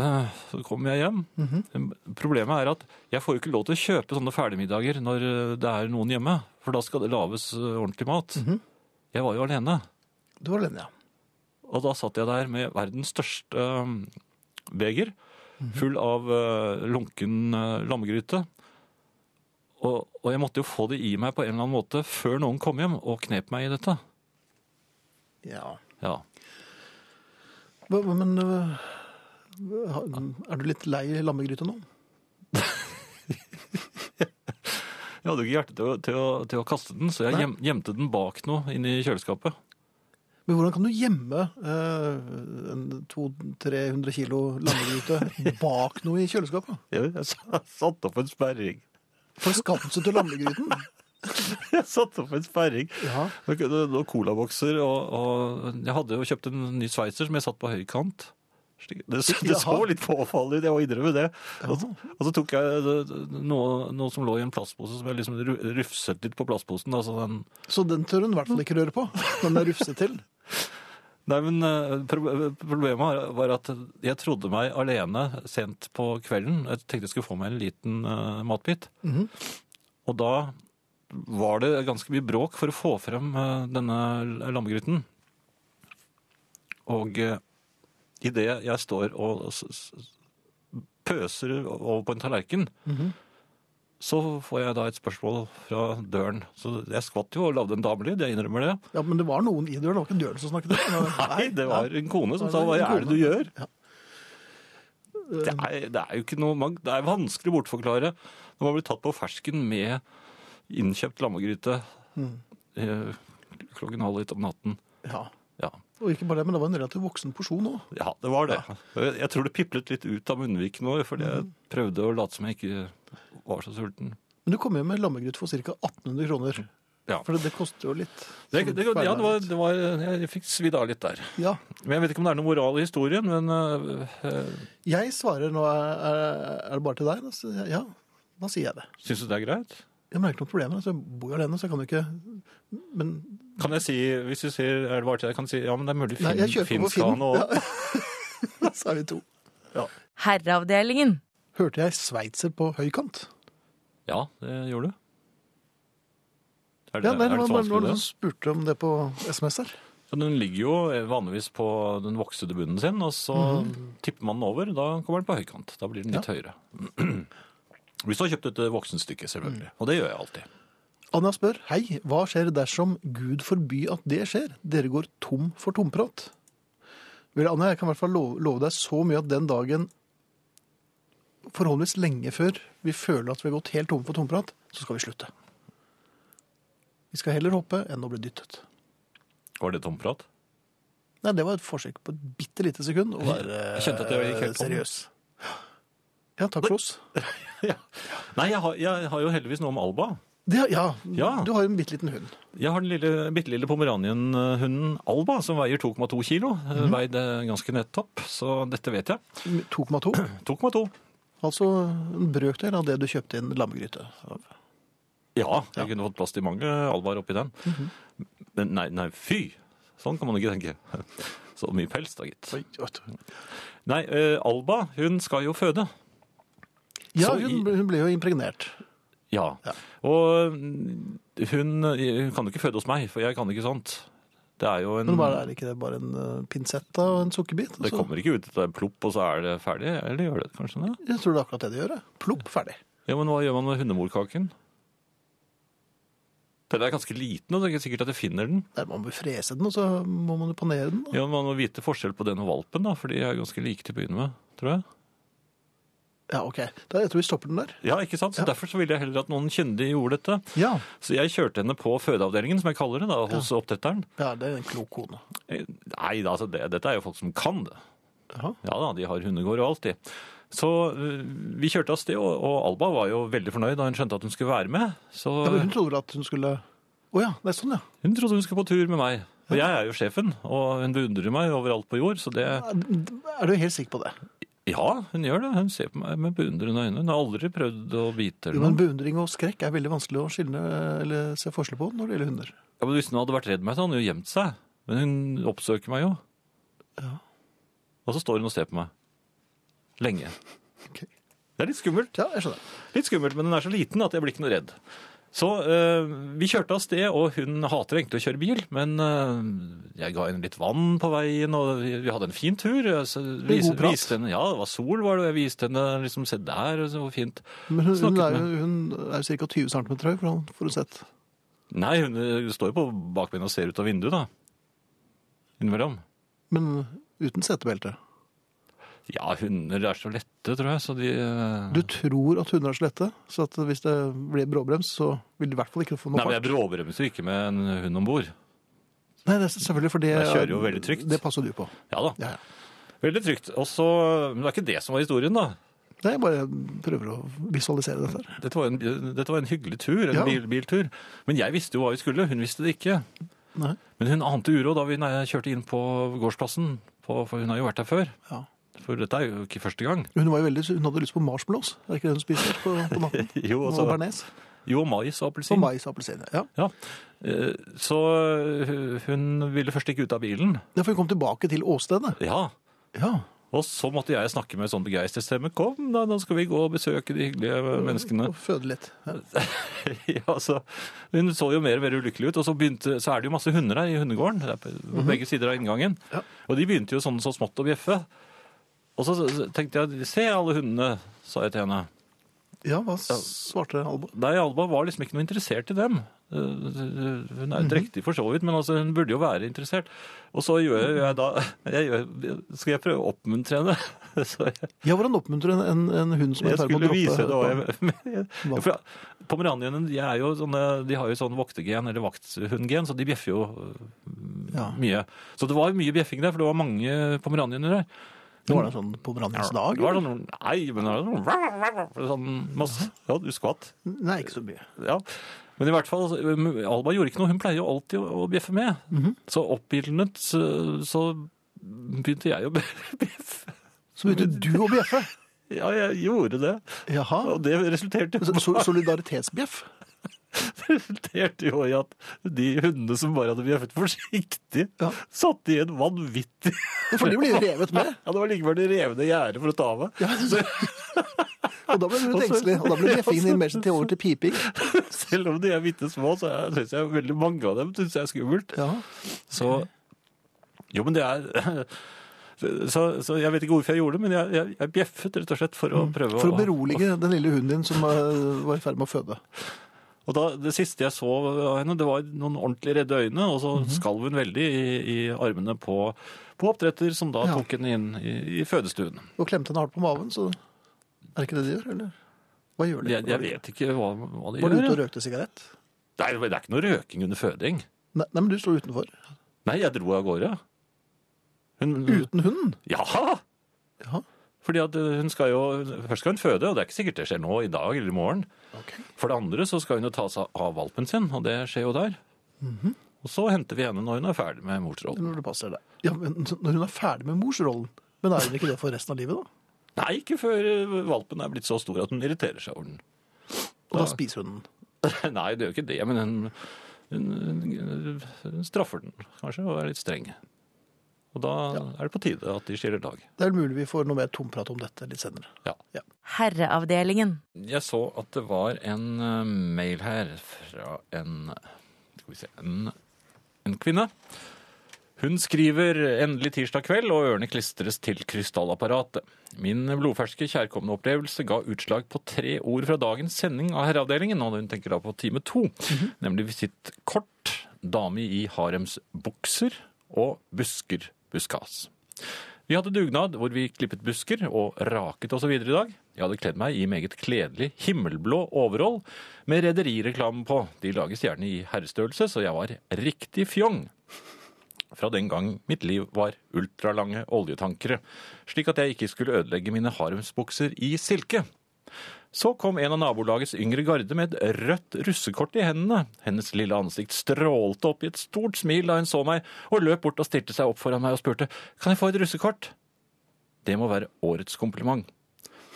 B: Eh, Så kom jeg hjem.
A: Mhm.
B: Problemet er at jeg får jo ikke lov til å kjøpe sånne ferdigmiddager når det er noen hjemme, for da skal det laves ordentlig mat.
A: Mhm.
B: Jeg var jo alene.
A: Du var alene, ja.
B: Og da satt jeg der med verdens største øhm, beger, full av øh, lunken øh, lammegryte. Og, og jeg måtte jo få det i meg på en eller annen måte før noen kom hjem og knep meg i dette.
A: ja.
B: Ja.
A: Hva- hva- Men øh, ha- er du litt lei lammegryte nå?
B: Jeg hadde jo ikke hjerte til å, til å, til å kaste den, så jeg
A: Nei.
B: gjem, gjemte den bak noe inni kjøleskapet.
A: Men hvordan kan du gjemme eh, en 200-300 kilo lammegryte bak noe i kjøleskapet?
B: Jeg, jeg satte opp en sperring.
A: Forskapelse til lammegryten?
B: Jeg satte opp en sperring.
A: Ja.
B: Og colabokser, og, og jeg hadde jo kjøpt en ny sveitser som jeg satt på høykant. Slik- Det, så- det så
A: Jaha.
B: litt påfallende ut, jeg må innrømme det. Og så, og så tok jeg det- noe, noe som lå i en plastpose, som jeg liksom ru- rufset litt på plastposen. Altså den,
A: Så den tør hun i hvert fall ikke røre på. Den er rufset til.
B: nei, men eh, pro- Problemet var- var at jeg trodde meg alene sent på kvelden. Jeg tenkte jeg skulle få meg en liten eh, matbit. Og da var det ganske mye bråk for å få frem eh, denne lammegryten. Og eh, i det jeg står og s- s- pøser over på en tallerken, så får jeg da et spørsmål fra døren. Så jeg skvatt jo og lagde en damelyd, jeg innrømmer det.
A: Ja, Men det var noen i døren, det var ikke døren som snakket.
B: Nei, det var en kone som sa
A: Det var
B: hva
A: en
B: er det
A: kone.
B: du gjør?
A: Ja.
B: Det er, det er jo ikke noe man, Det er vanskelig å bortforklare når man blir tatt på fersken med innkjøpt lammegryte eh, klokken halv ett om natten.
A: Ja.
B: Ja.
A: Og ikke bare det, men det var en relativt voksen porsjon òg.
B: Ja, Mm. det var det. Jeg tror det piplet litt ut av munnviken òg, fordi jeg prøvde å late som jeg ikke var så sulten.
A: Men du kom hjem med lammegryte for ca. 1800 kroner.
B: Ja.
A: For det, det koster jo litt.
B: Det, det, ja, det var, det var, jeg fikk svidd av litt der.
A: Ja.
B: Men Jeg vet ikke om det er noe moral i historien, men øh,
A: Jeg svarer nå er, er det bare til deg? Da sier jeg, Ja, da sier jeg det.
B: syns du det er greit?
A: Jeg merker noen problemer. Altså, jeg bor jo alene, så jeg kan jo ikke Men
B: Kan jeg si, hvis du sier er det bare til deg, kan jeg si ja, men det er mulig
A: Nei,
B: Finn,
A: jeg kjøper
B: Finn
A: på
B: skal ha
A: Finn.
B: noe også.
A: så er vi to.
D: Herreavdelingen.
A: Hørte jeg sveitser på høykant?
B: Ja, det gjorde du. Er det,
A: Ja, nei, det
B: er det
A: var
B: så
A: noen
B: vanskelig?
A: som spurte om det på SMS her.
B: det? Ja, Den ligger jo vanligvis på den voksede bunnen sin, og så
A: Mhm.
B: tipper man den over. Da kommer den på høykant. Da blir den litt høyere. Hvis du har kjøpt et voksenstykke,
A: Mm.
B: selvfølgelig. Og det gjør jeg alltid.
A: Anja spør Hei, hva skjer dersom Gud forby at det skjer? Dere går tom for tomprat. Vel, Anja, jeg kan i hvert fall love, love deg så mye at den dagen forholdsvis lenge før vi føler at vi har gått helt tom for tomprat, så skal vi slutte. Vi skal heller hoppe enn å bli dyttet.
B: Var det tomprat?
A: Nei, det var et forsøk på et bitte lite sekund å være
B: Jeg kjente at det gikk helt tom.
A: seriøs. Ja, takk for oss.
B: ja. Nei, jeg har, jeg har jo heldigvis noe om Alba.
A: Det, ja,
B: Ja.
A: du har en bitte liten hund.
B: Jeg har den lille, bitte lille pomeranien-hunden Alba, som veier 2,2 kilo.
A: Mhm.
B: Mm. Veide ganske nettopp, så dette vet jeg.
A: 2,2.
B: 2,2.
A: Altså en brøkdel av det du kjøpte i en lammegryte. av.
B: Ja, jeg kunne fått plass til mange alvar oppi den.
A: Mhm.
B: Men nei, nei, fy! Sånn kan man ikke tenke. Så mye pels, da, gitt.
A: Oi, oi.
B: Nei, eh, Alba, hun skal jo føde.
A: Ja,
B: Så i-
A: hun, hun ble jo impregnert.
B: Ja.
A: Ja.
B: Og mm, hun, eh, hun kan jo ikke føde hos meg, for jeg kan ikke sånt. Det er jo en
A: Men bare, er ikke det bare en eh, pinsett da, og en sukkerbit?
B: Mm.
A: Altså,
B: Det
A: Så-
B: kommer ikke ut, det er plopp, og så er det ferdig. Eller gjør det kanskje det?
A: Jeg tror det er akkurat det det gjør. ja. Plopp, ferdig.
B: Ja, men hva gjør man med hundemorkaken? Den er ganske liten, og det er ikke sikkert at jeg finner den.
A: Der må man frese den, og så må man jo panere den. da.
B: Ja, men Man må vite forskjell på den og valpen, da, for de er ganske like til å begynne med. tror jeg.
A: Ja, ok. Da, jeg tror vi stopper den der.
B: Ja, ikke sant? Så Derfor så ville jeg heller at noen kyndige gjorde dette.
A: Ja.
B: Så jeg kjørte henne på fødeavdelingen, som jeg kaller det, da, hos oppdretteren.
A: ja, det er en klok kone.
B: Eh, Nei, da, altså, det, dette er jo folk som kan det.
A: Jaha.
B: Ja da, de har hundegård og alt, de. Så eh, vi kjørte av sted, og, og Alba var jo veldig fornøyd da hun skjønte at hun skulle være med. Så
A: Ja, men hun trodde vel at hun skulle... Å ja, det er sånn, ja.
B: hun trodde hun skulle på tur med meg. Og jeg er jo sjefen, og hun beundrer meg overalt på jord, så det
A: Er du helt sikker på det?
B: Ja, hun gjør det. Hun ser på meg med beundrende øyne. Hun har aldri prøvd å bite
A: Jo,
B: eller
A: men
B: noe.
A: beundring og skrekk er veldig vanskelig å skille eller se forskjell på når det gjelder hunder.
B: Ja, men hvis hun hadde vært redd meg, så hadde hun jo gjemt seg. Men hun oppsøker meg jo.
A: Ja.
B: Og så står hun og ser på meg. Lenge.
A: Ok.
B: Det er litt skummelt.
A: Ja, jeg skjønner.
B: Litt skummelt, men den er så liten at jeg blir ikke noe redd. Så eh, vi kjørte av sted, og hun hater egentlig å kjøre bil, men eh, jeg ga henne litt vann på veien, og vi, vi hadde en fin tur. Jeg Så
A: god prat.
B: viste henne, ja, det var sol var det, og jeg viste henne liksom, se der, og så hvor fint.
A: Men hun, hun
B: Snakket
A: er jo hun er ca. 20 cm høy, for han får du sett.
B: Nei, hun eh, står jo på bakbeina og ser ut av vinduet da. Innimellom.
A: Men uten setebelte.
B: Ja, hunder er så lette, tror jeg, så de... eh,
A: Du tror at hunder er så lette, så at hvis det blir bråbrems, så vil de i hvert fall ikke få noe
B: Nei, men jeg bråbremser jo ikke med en hund ombord.
A: Nei, det er selvfølgelig, for det,
B: Jeg kjører jo veldig trygt.
A: det passer du på.
B: Ja da,
A: Ja, ja.
B: veldig trygt. Og så, men det er ikke det som var historien da.
A: Nei, jeg bare prøver å visualisere dette. her.
B: Dette var en, dette var en hyggelig tur, en
A: Ja.
B: bil, biltur. Men jeg visste jo hva vi skulle, hun visste det ikke.
A: Nei,
B: Men hun ante uro da vi nei, kjørte inn på gårdsplassen, på, for hun har jo vært der før.
A: ja.
B: For dette er jo ikke første gang.
A: Hun, var jo veldig, hun hadde lyst på marshmallows. Er det ikke det hun spiser på, på natten?
B: Jo,
A: Og
B: altså-
A: bearnés.
B: Jo, mais og
A: Og
B: appelsin.
A: mais og appelsin. Ja.
B: Ja. Eh, Så eh, hun ville først ikke ut av bilen.
A: Ja, for hun kom tilbake til åstedet.
B: Ja.
A: Ja.
B: Og så måtte jeg snakke med sånn begeistret stemme. Kom, da, da skal vi gå og besøke de hyggelige menneskene.
A: Og føde litt. Ja.
B: ja, så, hun så jo mer og mer ulykkelig ut, og så, begynte, så er det jo masse hunder her i hundegården, det er på på begge sider av inngangen.
A: Ja.
B: Og de begynte jo sånn så smått å bjeffe. Og så så tenkte jeg, se alle hundene, sa jeg til henne.
A: ja, hva svarte Alba?
B: Nei, Alba var liksom ikke noe interessert i dem. Eh, Hun er jo drektig for så vidt, men altså, hun burde jo være interessert. Og så gjør jeg da, jeg gjør, skal jeg prøve å oppmuntre henne? Så jeg,
A: Ja, hvordan oppmuntrer en, en, en hund som er i
B: Jeg
A: ferd med
B: skulle
A: å
B: vise det
A: droppe
B: òg. Pomeraniene de er jo sånne, de har jo sånn voktergen, eller vakthundgen, så de bjeffer jo øh,
A: Ja.
B: mye. Så det var jo mye bjeffing der, for det var mange pomeranianer der.
A: Det var da sånn på brannens dag?
B: Det var sånn Nei, men det var sånn, sånn masse Ja, du skvatt.
A: Nei, ikke så mye.
B: Ja. Men i hvert fall, altså, øh, Alba gjorde ikke noe. Hun pleier jo alltid å å bjeffe med.
A: Mhm.
B: Så oppildnet så, så begynte jeg å bjeffe.
A: Så begynte du å bjeffe.
B: Ja, jeg gjorde det.
A: Jaha.
B: Og det resulterte
A: Så- so- Solidaritetsbjeff?
B: resulterte jo i at de hundene som bare hadde bjeffet forsiktig,
A: Ja.
B: satt i en vanvittig
A: For de ble jo revet med.
B: Ja, det var likevel de revne gjerdet for å ta av. meg. Så
A: Og da ble hun engstelig. Og da ble bjeffingen din mer til over til piping.
B: selv om de er bitte små, så er- synes jeg veldig mange av dem synes jeg er skummelt.
A: Ja.
B: Så Jo, men det er så, så jeg vet ikke hvorfor jeg gjorde det, men jeg, jeg, jeg bjeffet rett og slett for å prøve
A: Mm. For å berolige den lille hunden din som eh, var i ferd med å føde.
B: Og da, Det siste jeg så av henne, det var noen ordentlig redde øyne, og så
A: Mhm.
B: skalv hun veldig i, i armene på, på oppdretter, som da
A: Ja.
B: tok henne inn i, i fødestuen.
A: Og klemte henne hardt på maven, så er det ikke det de gjør? Eller hva gjør de?
B: Jeg, jeg vet ikke hva, hva de
A: Var du ute og
B: gjør. jeg.
A: røkte sigarett?
B: Det er, det er ikke noe røking under føding.
A: Nei, nei, men du sto utenfor.
B: Nei, jeg dro av gårde. Hun,
A: Uten hunden?
B: Ja!
A: Ja.
B: Fordi at eh, hun skal jo, Først skal hun føde, og det er ikke sikkert det skjer nå i dag eller i morgen. For det andre så skal hun jo ta seg av valpen sin, og det skjer jo der.
A: Mhm.
B: Og så henter vi henne når hun er ferdig med morsrollen.
A: Når det passer deg. Ja, men når hun er ferdig med morsrollen, men er hun ikke det for resten av livet, da?
B: Nei, ikke før eh, valpen er blitt så stor at hun irriterer seg over den.
A: Og da spiser hun den.
B: Nei, det gjør ikke det, men hun, hun, hun, hun straffer den kanskje og er litt streng. Og da er det på tide at de skiller lag.
A: Det er mulig vi får noe mer tomprat om dette litt senere.
B: Ja.
D: Herreavdelingen.
B: Jeg så at det var en eh, mail her fra en Skal vi se en, en kvinne. Hun skriver 'endelig tirsdag kveld', og ørene klistres til krystallapparatet. Min blodferske kjærkomne opplevelse ga utslag på tre ord fra dagens sending av Herreavdelingen, og hun tenker da på time to, nemlig visittkort, dame i haremsbukser og busker buskas. Vi hadde dugnad hvor vi klippet busker og raket osv. i dag. Jeg hadde kledd meg i meget kledelig himmelblå overall med rederireklamen på. De lages gjerne i herrestørrelse, så jeg var riktig fjong. Fra den gang mitt liv var ultralange oljetankere, slik at jeg ikke skulle ødelegge mine haremsbukser i silke. Så kom en av nabolagets yngre garde med et rødt russekort i hendene. Hennes lille ansikt strålte opp i et stort smil da hun så meg, og løp bort og stilte seg opp foran meg og spurte «Kan jeg få et russekort?» Det må være årets kompliment.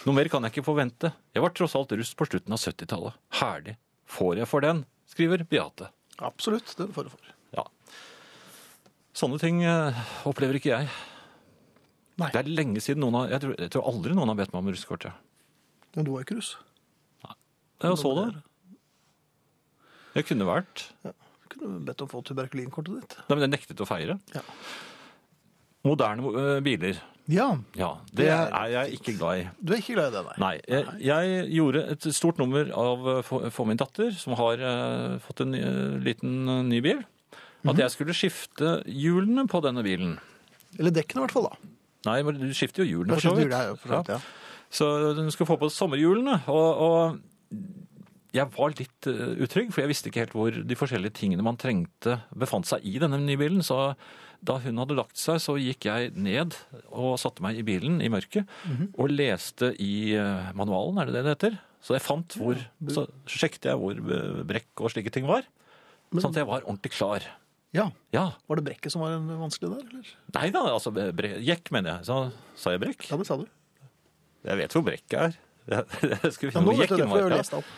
B: Noe mer kan jeg ikke forvente. Jeg var tross alt russ på slutten av 70-tallet. Herlig. Får jeg for den? skriver Beate.
A: Absolutt. Den får du for.
B: Ja. Sånne ting eh, opplever ikke jeg.
A: Nei.
B: Det er lenge siden noen har Jeg tror, jeg tror aldri noen har bedt meg om russekort. Ja.
A: Men du var ikke russ.
B: Jeg så det. Jeg kunne vært.
A: Du kunne bedt om å få tuberkulinkortet ditt.
B: Nei, men jeg nektet å feire.
A: Ja.
B: Moderne eh, biler.
A: Ja,
B: Ja, det,
A: Det er-
B: er, jeg ikke glad i.
A: du er ikke glad i det, nei.
B: Nei, jeg, jeg gjorde et stort nummer av eh, for, for min datter, som har eh, fått en eh, liten eh, ny bil, at jeg skulle skifte hjulene på denne bilen.
A: Eller dekkene i hvert fall, da.
B: Nei, men du skifter jo
A: Da
B: hjulene for så
A: skjønner du
B: vidt.
A: det her, for så vidt, ja.
B: Så hun skulle få på sommerhjulene, og, og jeg var litt eh, utrygg, for jeg visste ikke helt hvor de forskjellige tingene man trengte befant seg i denne nye bilen. Så da hun hadde lagt seg, så gikk jeg ned og satte meg i bilen i mørket og leste i eh, manualen, er det det det heter? Så jeg fant hvor, så sjekket jeg hvor eh, brekk og slike ting var, sånn at jeg var ordentlig klar.
A: Ja.
B: Ja,
A: Var det brekket som var en- vanskelig der, eller?
B: nei da, altså bre jekk mener jeg. Så sa jeg brekk?
A: Ja, det sa du.
B: Jeg vet hvor brekket er. Jeg, jeg skulle
A: Ja,
B: finne
A: nå
B: hvor
A: vet du det,
B: jekken
A: for jeg
B: var.
A: har
B: Ja.
A: lest det opp.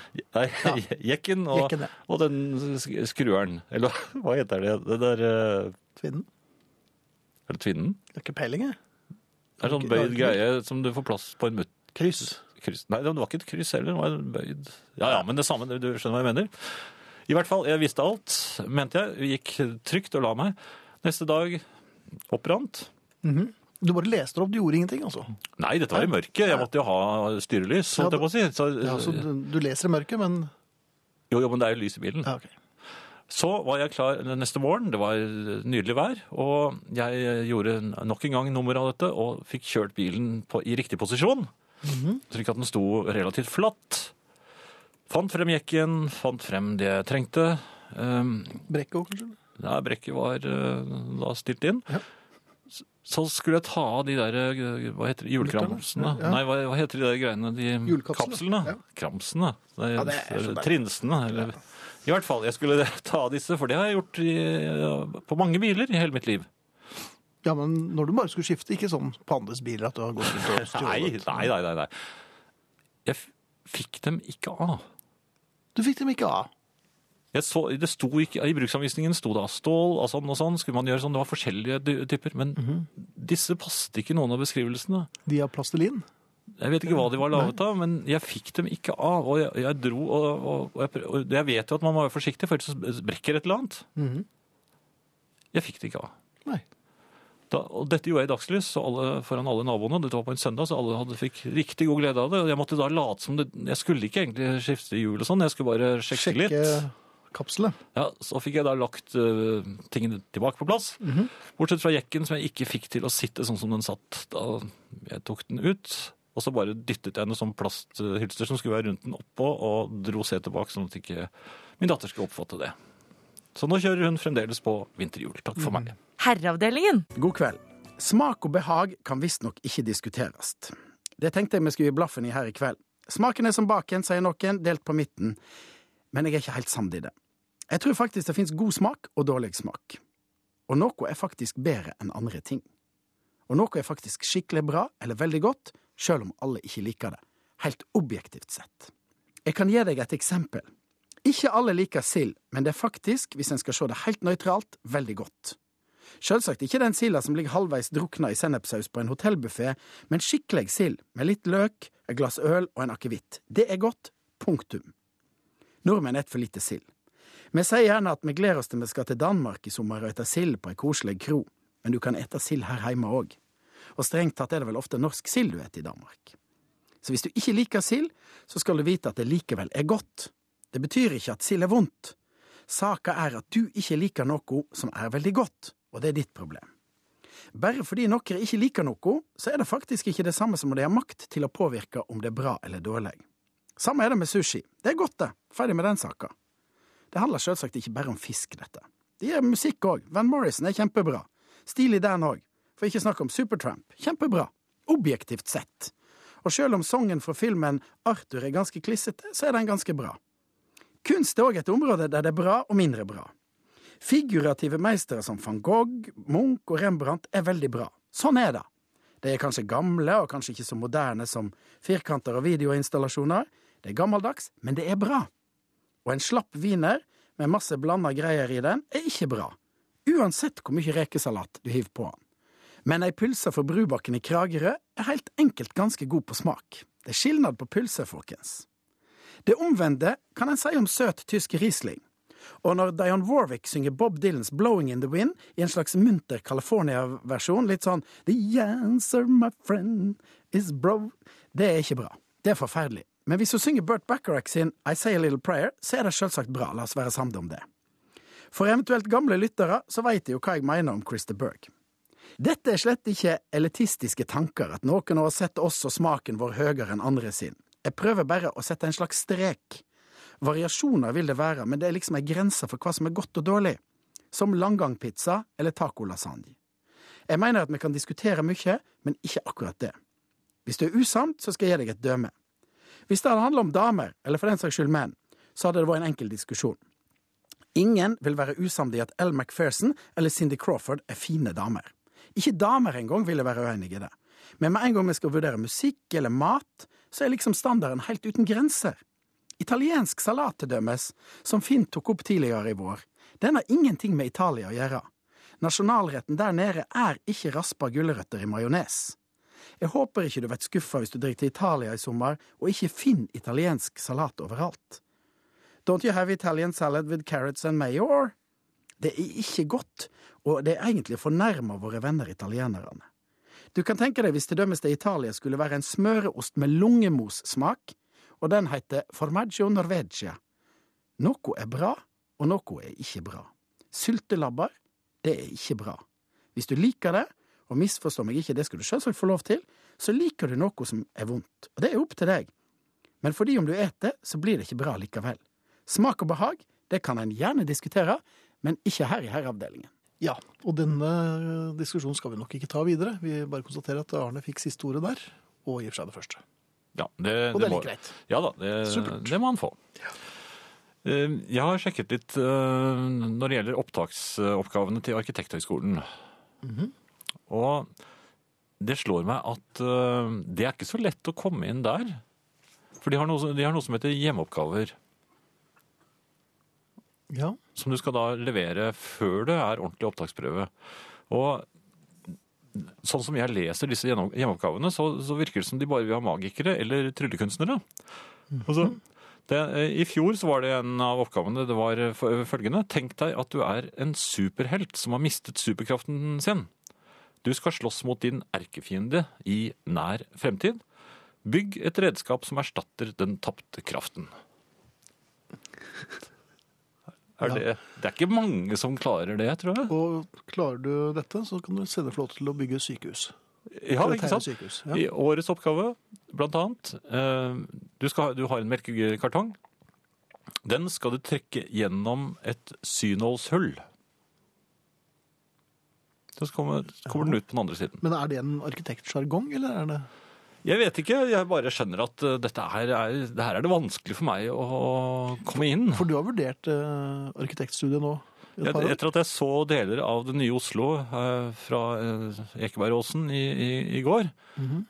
B: Nei, jekken og,
A: Jekken, ja.
B: og den sk- skrueren. Eller hva heter det? Det der eh,
A: Tvinnen.
B: Er det tvinnen?
A: Det er ikke peiling, jeg.
B: Det er sånn
A: Ikke-
B: bøyd greie som du får plass på en mutt.
A: Kryss.
B: Kryss. Nei, det var ikke et kryss heller. Det var en bøyd Ja ja, men det samme, du skjønner hva jeg mener. I hvert fall, jeg visste alt, mente jeg. Gikk trygt og la meg. Neste dag opprant.
A: Du bare leste det opp, du gjorde ingenting, altså.
B: Nei, dette var i mørket. Jeg måtte jo ha styrelys,
A: Ja,
B: holdt jeg på å si. Så,
A: Ja, så du, du leser i mørket, men
B: jo, jo, men det er jo lys i bilen.
A: Ja, ok.
B: Så var jeg klar neste morgen, det var nydelig vær, og jeg gjorde nok en gang nummer av dette, og fikk kjørt bilen på, i riktig posisjon, slik at den sto relativt flatt. Fant frem jekken, fant frem det jeg trengte. Um,
A: Brekket òg, kanskje?
B: da brekket var eh, da stilt inn.
A: Ja.
B: S- Så skulle jeg ta av de der, eh, hva heter det, julekramsene?
A: Ja.
B: Nei, hva, hva heter de der greiene? De
A: Julekapslene.
B: kapslene?
A: Ja.
B: Kramsene? Nei,
A: Ja, det er så
B: eller
A: deilig.
B: trinsene? Eller, I hvert fall, jeg skulle ta av disse, for det har jeg gjort i, eh, på mange biler i hele mitt liv.
A: Ja, men når du bare skulle skifte, ikke sånn på andres biler at du har gått ut og
B: Nei,
A: stjålet.
B: nei, nei, nei. nei. Jeg f- fikk dem ikke av.
A: Du fikk dem ikke av.
B: Jeg så, det sto ikke, I bruksanvisningen sto det av stål og sånn og sånn. Skulle man gjøre sånn, Det var forskjellige dy- typer. Men
A: Mhm.
B: disse passet ikke noen av beskrivelsene.
A: De av plastelin.
B: Jeg vet ikke hva de var laget av, men jeg fikk dem ikke av. Og jeg, jeg dro og, og, og, jeg, prøv- og jeg vet jo at man må være forsiktig, for ellers brekker et eller annet. Jeg fikk det ikke av.
A: Nei.
B: Da, og dette gjorde jeg i dagslys så alle, foran alle naboene. Dette var på en søndag, så alle hadde, fikk riktig god glede av det. Og jeg måtte da late som det Jeg skulle ikke egentlig skifte hjul og sånn, jeg skulle bare sjekke, litt.
A: Sjekke kapslene.
B: Ja, Så fikk jeg da lagt øh, tingene tilbake på plass. Bortsett fra jekken, som jeg ikke fikk til å sitte sånn som den satt da jeg tok den ut. Og så bare dyttet jeg noen sånn plasthylster som skulle være rundt den oppå, og dro setet tilbake, sånn at ikke min datter skulle oppfatte det. Så nå kjører hun fremdeles på vinterhjul. Takk for meg.
D: Herreavdelingen.
E: God kveld. Smak og behag kan visstnok ikke diskuteres. Det tenkte jeg vi skulle gi blaffen i her i kveld. Smaken er som baken, sier noen, delt på midten. Men jeg er ikke helt samd i det. Jeg tror faktisk det fins god smak og dårlig smak. Og noe er faktisk bedre enn andre ting. Og noe er faktisk skikkelig bra eller veldig godt, sjøl om alle ikke liker det. Helt objektivt sett. Jeg kan gi deg et eksempel. Ikke alle liker sild, men det er faktisk, hvis en skal se det helt nøytralt, veldig godt. Sjølsagt ikke den silda som ligger halvveis drukna i sennepsaus på en hotellbuffé, men skikkelig sild med litt løk, et glass øl og en akevitt. Det er godt. Punktum. Nordmenn et for lite sild. Vi sier gjerne at vi gleder oss til vi skal til Danmark i sommer og ete sild på ei koselig kro, men du kan ete sild her hjemme òg. Og strengt tatt er det vel ofte norsk sild du eter i Danmark. Så hvis du ikke liker sild, så skal du vite at det likevel er godt. Det betyr ikke at sild er vondt. Saka er at du ikke liker noe som er veldig godt, og det er ditt problem. Bare fordi noen ikke liker noe, så er det faktisk ikke det samme som om de har makt til å påvirke om det er bra eller dårlig. Samme er det med sushi. Det er godt, det. Ferdig med den saka. Det handler selvsagt ikke bare om fisk, dette. Det gir musikk òg. Van Morrison er kjempebra. Stilig Dan òg. For ikke snakk om Supertramp. Kjempebra. Objektivt sett. Og sjøl om sangen fra filmen Arthur er ganske klissete, så er den ganske bra. Kunst er òg et område der det er bra og mindre bra. Figurative meistere som van Gogh, Munch og Rembrandt er veldig bra. Sånn er det. De er kanskje gamle og kanskje ikke så moderne som firkanter og videoinstallasjoner. Det er gammeldags, men det er bra. Og en slapp wiener med masse blanda greier i den er ikke bra. Uansett hvor mye rekesalat du hiver på den. Men ei pølse fra Brubakken i Kragerø er helt enkelt ganske god på smak. Det er skilnad på pølser, folkens. Det omvendte kan en si om søt tysk Riesling. Og når Dionne Warwick synger Bob Dylans 'Blowing in the Wind' i en slags munter California-versjon, litt sånn 'The answer, my friend, is bro' Det er ikke bra. Det er forferdelig. Men hvis hun synger Bert Bacharach sin 'I Say a Little Prayer', så er det selvsagt bra. La oss være samde om det. For eventuelt gamle lyttere, så veit de jo hva jeg mener om Christer Berg. Dette er slett ikke elitistiske tanker, at noen har sett oss og smaken vår høyere enn andre sin. Jeg prøver bare å sette en slags strek. Variasjoner vil det være, men det er liksom ei grense for hva som er godt og dårlig. Som langgangpizza eller tacolasagne. Jeg mener at vi kan diskutere mye, men ikke akkurat det. Hvis du er usamt, så skal jeg gi deg et døme. Hvis det hadde handla om damer, eller for den saks skyld menn, så hadde det vært en enkel diskusjon. Ingen vil være usamde i at Elle McPherson eller Cindy Crawford er fine damer. Ikke damer engang ville være uenig i det. Men med en gang vi skal vurdere musikk eller mat, så er liksom standarden helt uten grenser. Italiensk salat til dømes, som Finn tok opp tidligere i vår, den har ingenting med Italia å gjøre. Nasjonalretten der nede er ikke raspa gulrøtter i majones. Jeg håper ikke du blir skuffa hvis du drar til Italia i sommer og ikke finner italiensk salat overalt. Don't you have Italian salad with carrots and mayo, or? Det er ikke godt, og det er egentlig fornærma våre venner italienerne. Du kan tenke deg hvis til dømmes det i Italia skulle være en smøreost med lungemossmak, og den heter formaggio norvegia. Noe er bra, og noe er ikke bra. Syltelabber, det er ikke bra. Hvis du liker det, og misforstå meg ikke, det skal du selvsagt få lov til, så liker du noe som er vondt, og det er opp til deg. Men fordi om du eter, så blir det ikke bra likevel. Smak og behag, det kan en gjerne diskutere, men ikke her i herreavdelingen.
A: Ja, og denne eh, diskusjonen skal vi nok ikke ta videre. Vi bare konstaterer at Arne fikk siste ordet der, og i og for seg det første.
B: Ja, det,
A: Og det er
B: må-
A: litt greit.
B: Ja da, det,
A: Supert.
B: det må han få. Eh, Jeg har sjekket litt eh, når det gjelder opptaksoppgavene til Arkitekthøgskolen.
A: Mhm.
B: Og det slår meg at eh, det er ikke så lett å komme inn der. For de har noe, som- de har noe som heter hjemmeoppgaver,
A: Ja,
B: som du skal da levere før det er ordentlig opptaksprøve. Og sånn som jeg leser disse gjennom- hjemmeoppgavene, så, så virker det som de bare vil ha magikere eller tryllekunstnere. Altså, det, I fjor så var det en av oppgavene det var eh, f- følgende. Tenk deg at du er en superhelt som har mistet superkraften sin. Du skal slåss mot din erkefiende i nær fremtid. Bygg et redskap som erstatter den tapte kraften. Er det, det er ikke mange som klarer det, tror jeg.
A: og klarer du dette, så kan du sende flåte til å bygge sykehus. Til
B: Ja,
A: å
B: ikke
A: tegne
B: sant?
A: Sykehus. Ja.
B: I årets oppgave, blant annet, eh, du, skal, du har en melkekartong. Den skal du trekke gjennom et synålshull. Så kommer, kommer den ut på den andre siden.
A: Men er det en arkitektsjargong, eller er det
B: Jeg vet ikke, jeg bare skjønner at eh, dette her er, det her er det vanskelig for meg å komme inn.
A: For du har vurdert eh, arkitektstudiet nå? i et
B: Et-
A: par år.
B: Etter at jeg så deler av det nye Oslo eh, fra eh, Ekebergåsen i, i, i går,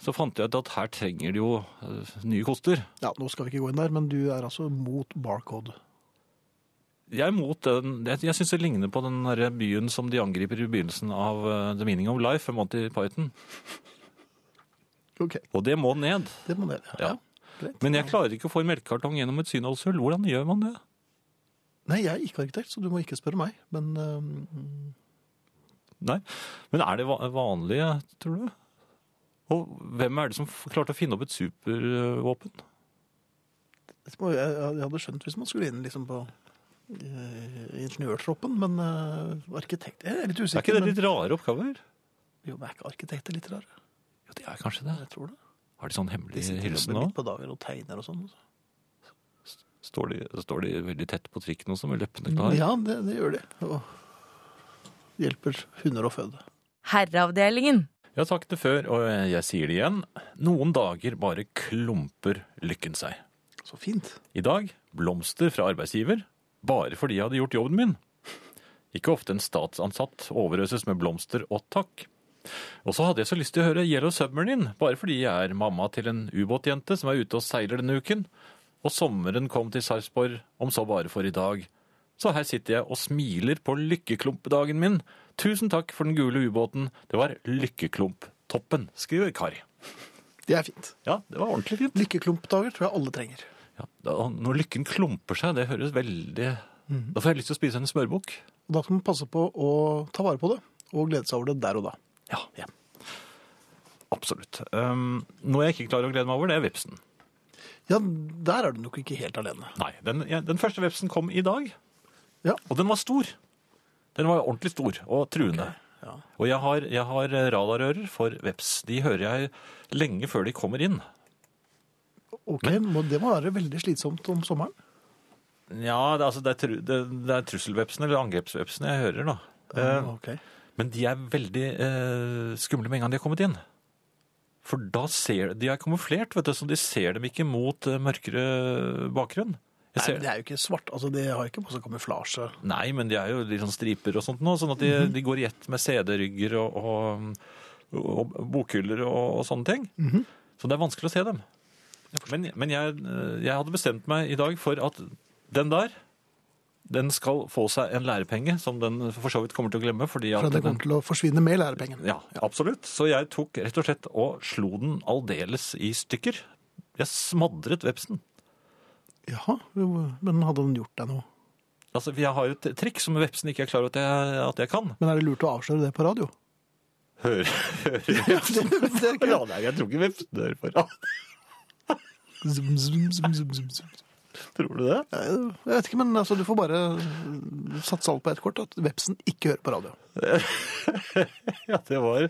B: så fant jeg ut at her trenger de jo eh, nye koster.
A: Ja, nå skal vi ikke gå inn der, men du er altså mot barcode.
B: Jeg er mot den, jeg, jeg syns det ligner på den der byen som de angriper i begynnelsen av eh, The Meaning of Life, Monty Python.
A: Ok,
B: Og det må ned.
A: det må dere.
B: Ja.
A: greit.
B: Men jeg klarer ikke å få en melkekartong gjennom et synholdshull. Hvordan gjør man det?
A: Nei, jeg er ikke arkitekt, så du må ikke spørre meg. Men eh,
B: Nei. Men er det va- vanlige, tror du? Og hvem er det som f- klarte å finne opp et supervåpen?
A: det må- jeg, jeg hadde skjønt hvis man skulle inn liksom på eh, ingeniørtroppen, men eh, arkitekt Jeg er litt
B: Er ikke
A: usikker.
B: det litt rare oppgaver?
A: men, jo, men er ikke arkitekter litt rare?
B: Jo, det er kanskje det.
A: Jeg tror det.
B: Har de sånn
A: De
B: hemmelig
A: sitter
B: hilsen
A: jobber
B: nå?
A: midt på dager og tegner og sånn.
B: Står de, står de veldig tett på trikken også, med leppene klare?
A: Ja, det, det gjør de. Og hjelper hunder å føde.
D: Herreavdelingen.
B: Jeg har sagt det før, og jeg sier det igjen. Noen dager bare klumper lykken seg.
A: Så fint.
B: I dag blomster fra arbeidsgiver, bare fordi jeg hadde gjort jobben min. Ikke ofte en statsansatt overøses med blomster og takk. Og så hadde jeg så lyst til å høre Yellow Submarine, bare fordi jeg er mamma til en ubåtjente som er ute og seiler denne uken. Og sommeren kom til Sarpsborg, om så bare for i dag. Så her sitter jeg og smiler på lykkeklumpedagen min. Tusen takk for den gule ubåten. Det var lykkeklumptoppen, skriver Kari.
A: Det er fint.
B: Ja, det var ordentlig fint.
A: Lykkeklumpdager tror jeg alle trenger.
B: Ja, da, når lykken klumper seg, det høres veldig Da får jeg lyst til å spise en smørbukk.
A: Og da skal man passe på å ta vare på det, og glede seg over det der og da.
B: Ja. Absolutt. Um, noe jeg ikke klarer å glede meg over, det er vepsen.
A: Ja, der er du nok ikke helt alene.
B: Nei, Den, jeg, den første vepsen kom i dag,
A: Ja.
B: og den var stor. Den var ordentlig stor og truende.
A: ja.
B: Og jeg har, jeg har eh, radarører for veps. De hører jeg lenge før de kommer inn.
A: Ok, må, Det må være veldig slitsomt om sommeren.
B: Ja, det, altså, det, er, tru, det, det er trusselvepsene eller angrepsvepsene jeg hører, da. Eh,
A: Ok.
B: Men de er veldig eh, skumle med en gang de har kommet inn. For da ser de er kamuflert, vet du, så de ser dem ikke mot eh, mørkere bakgrunn. Jeg
A: Nei,
B: ser,
A: men det er jo ikke svart. altså De har ikke på seg kamuflasje.
B: Nei, men de er jo litt sånn striper og sånt nå, sånn at de,
A: Mhm.
B: de går i ett med CD-rygger og, og, og bokhyller og, og sånne ting.
A: Mhm.
B: Så det er vanskelig å se dem. Men, men jeg, eh, jeg hadde bestemt meg i dag for at den der, den skal få seg en lærepenge, som den for så vidt kommer til å glemme. Fordi at
A: For det
B: den,
A: kommer til å forsvinne med lærepengene.
B: Ja, absolutt. Så jeg tok rett og slett og slo den aldeles i stykker. Jeg smadret vepsen.
A: Jaha, jo, men hadde den gjort deg noe?
B: Altså, Jeg har jo et trikk som vepsen ikke er klar over at jeg, at jeg kan.
A: Men er det lurt å avsløre det på radio?
B: Hører hør, vepsen
A: det er
B: på radioen? Jeg tror ikke vepsen hører på radioen.
A: Zum, zum, zum, zum, zum, zum.
B: Tror du det?
A: Eh, Jeg vet ikke, men altså, du får bare eh, satse alt på ett kort, at vepsen ikke hører på radio.
B: Ja, det var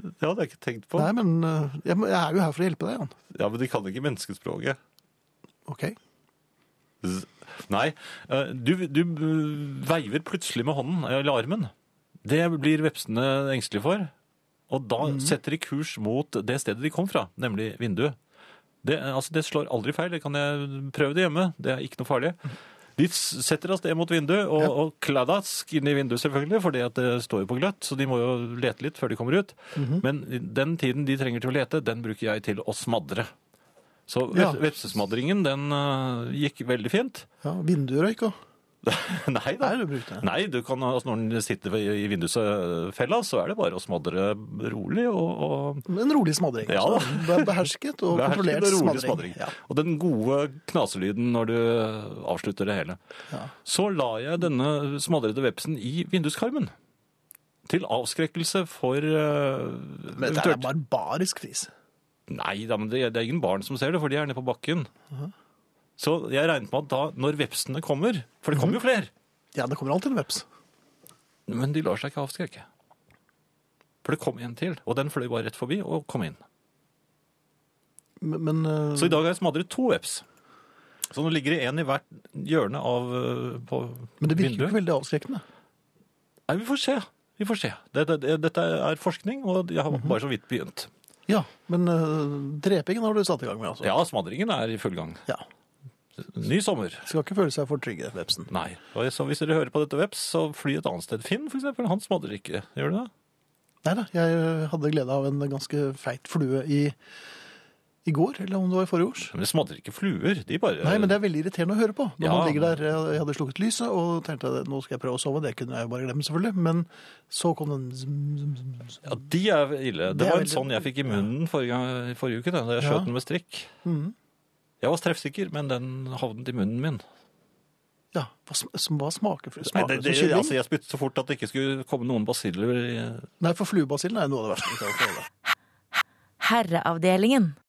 B: Det hadde jeg ikke tenkt på.
A: Nei, men eh, jeg må- jeg er jo her for å hjelpe deg, Jan.
B: Ja, Men de kan ikke menneskespråket.
A: Ok.
B: Z- Nei. eh, Du, du eh, veiver plutselig med hånden, eh, eller armen. Det blir vepsene engstelige for. Og da setter de kurs mot det stedet de kom fra, nemlig vinduet. Det, eh, altså, det slår aldri feil. Det kan jeg prøve det hjemme. Det er ikke noe farlig. De s- setter av sted mot vinduet, og, og kladask inn i vinduet selvfølgelig, fordi at det står jo på gløtt, så de må jo lete litt før de kommer ut. Men den tiden de trenger til å lete, den bruker jeg til å smadre. Så vep-
A: Ja.
B: vepsesmadringen, den eh, gikk veldig fint.
A: Ja, Vinduerøyk òg.
B: Nei da.
A: Nei, du brukte det.
B: Nei, du kan, altså når den sitter i vindusfella, så er det bare å smadre rolig og, og
A: En rolig smadring.
B: Ja
A: altså.
B: da.
A: Be- Behersket og
B: Behersket
A: kontrollert
B: og rolig
A: smadring.
B: smadring.
A: Ja.
B: Og den gode knaselyden når du eh, avslutter det hele.
A: Ja.
B: Så la jeg denne smadrede vepsen i vinduskarmen. Til avskrekkelse for eh,
A: Men det er
B: eventuelt-
A: barbarisk fis.
B: Nei da, men det, det er ingen barn som ser det, for de er nede på bakken. Så jeg regnet med at da, når vepsene kommer For det
A: Mhm.
B: kommer jo flere!
A: Ja, det kommer alltid en veps.
B: Men de lar seg ikke avskrekke. For det kom en til, og den fløy bare rett forbi og kom inn.
A: Men, men eh,
B: Så i dag har jeg smadret to veps. Så nå ligger det en i hvert hjørne av eh, på
A: men det virker jo
B: vinduet.
A: ikke veldig avskrekkende. Mhm.
B: Nei, vi får se. Vi får se. Dette, dette er forskning, og jeg har bare så vidt begynt.
A: Ja, men eh, drepingen har du satt i gang med, altså.
B: Ja, smadringen er i full gang.
A: Ja.
B: Ny sommer.
A: Skal ikke føle seg for trygge, vepsen.
B: Nei. Og så hvis dere hører på dette veps, så fly et annet sted. Finn, for eksempel. Han smadrer ikke. Gjør du det?
A: Nei da, jeg eh, hadde glede av en ganske feit flue i, i går, eller om det var i forrige års.
B: Men det smadrer ikke fluer. De bare
A: Nei, men det er veldig irriterende å høre på. Når
B: Ja.
A: man ligger der, eh, jeg- jeg hadde slukket lyset og tenkte at nå skal jeg prøve å sove. Det kunne jeg jo bare glemme, selvfølgelig. Men så kom den zum, zum, zum, zum.
B: Ja, de er ille. Det,
A: Det er
B: var en
A: veldig-
B: sånn jeg fikk i munnen forrige, gang- forrige uke, da, da jeg
A: Ja.
B: skjøt den med strikk.
A: Mhm.
B: Jeg var treffsikker, men den havnet i munnen min.
A: Ja, hva, sm- sm- hva smaker flue?
B: Nei,
A: Smaker
B: det,
A: det
B: det,
A: som kylling?
B: altså, jeg spyttet så fort at det ikke skulle komme noen basiller i
A: Nei, for fluebasillen er noe av det verste. vi kan få i det.
D: Herreavdelingen.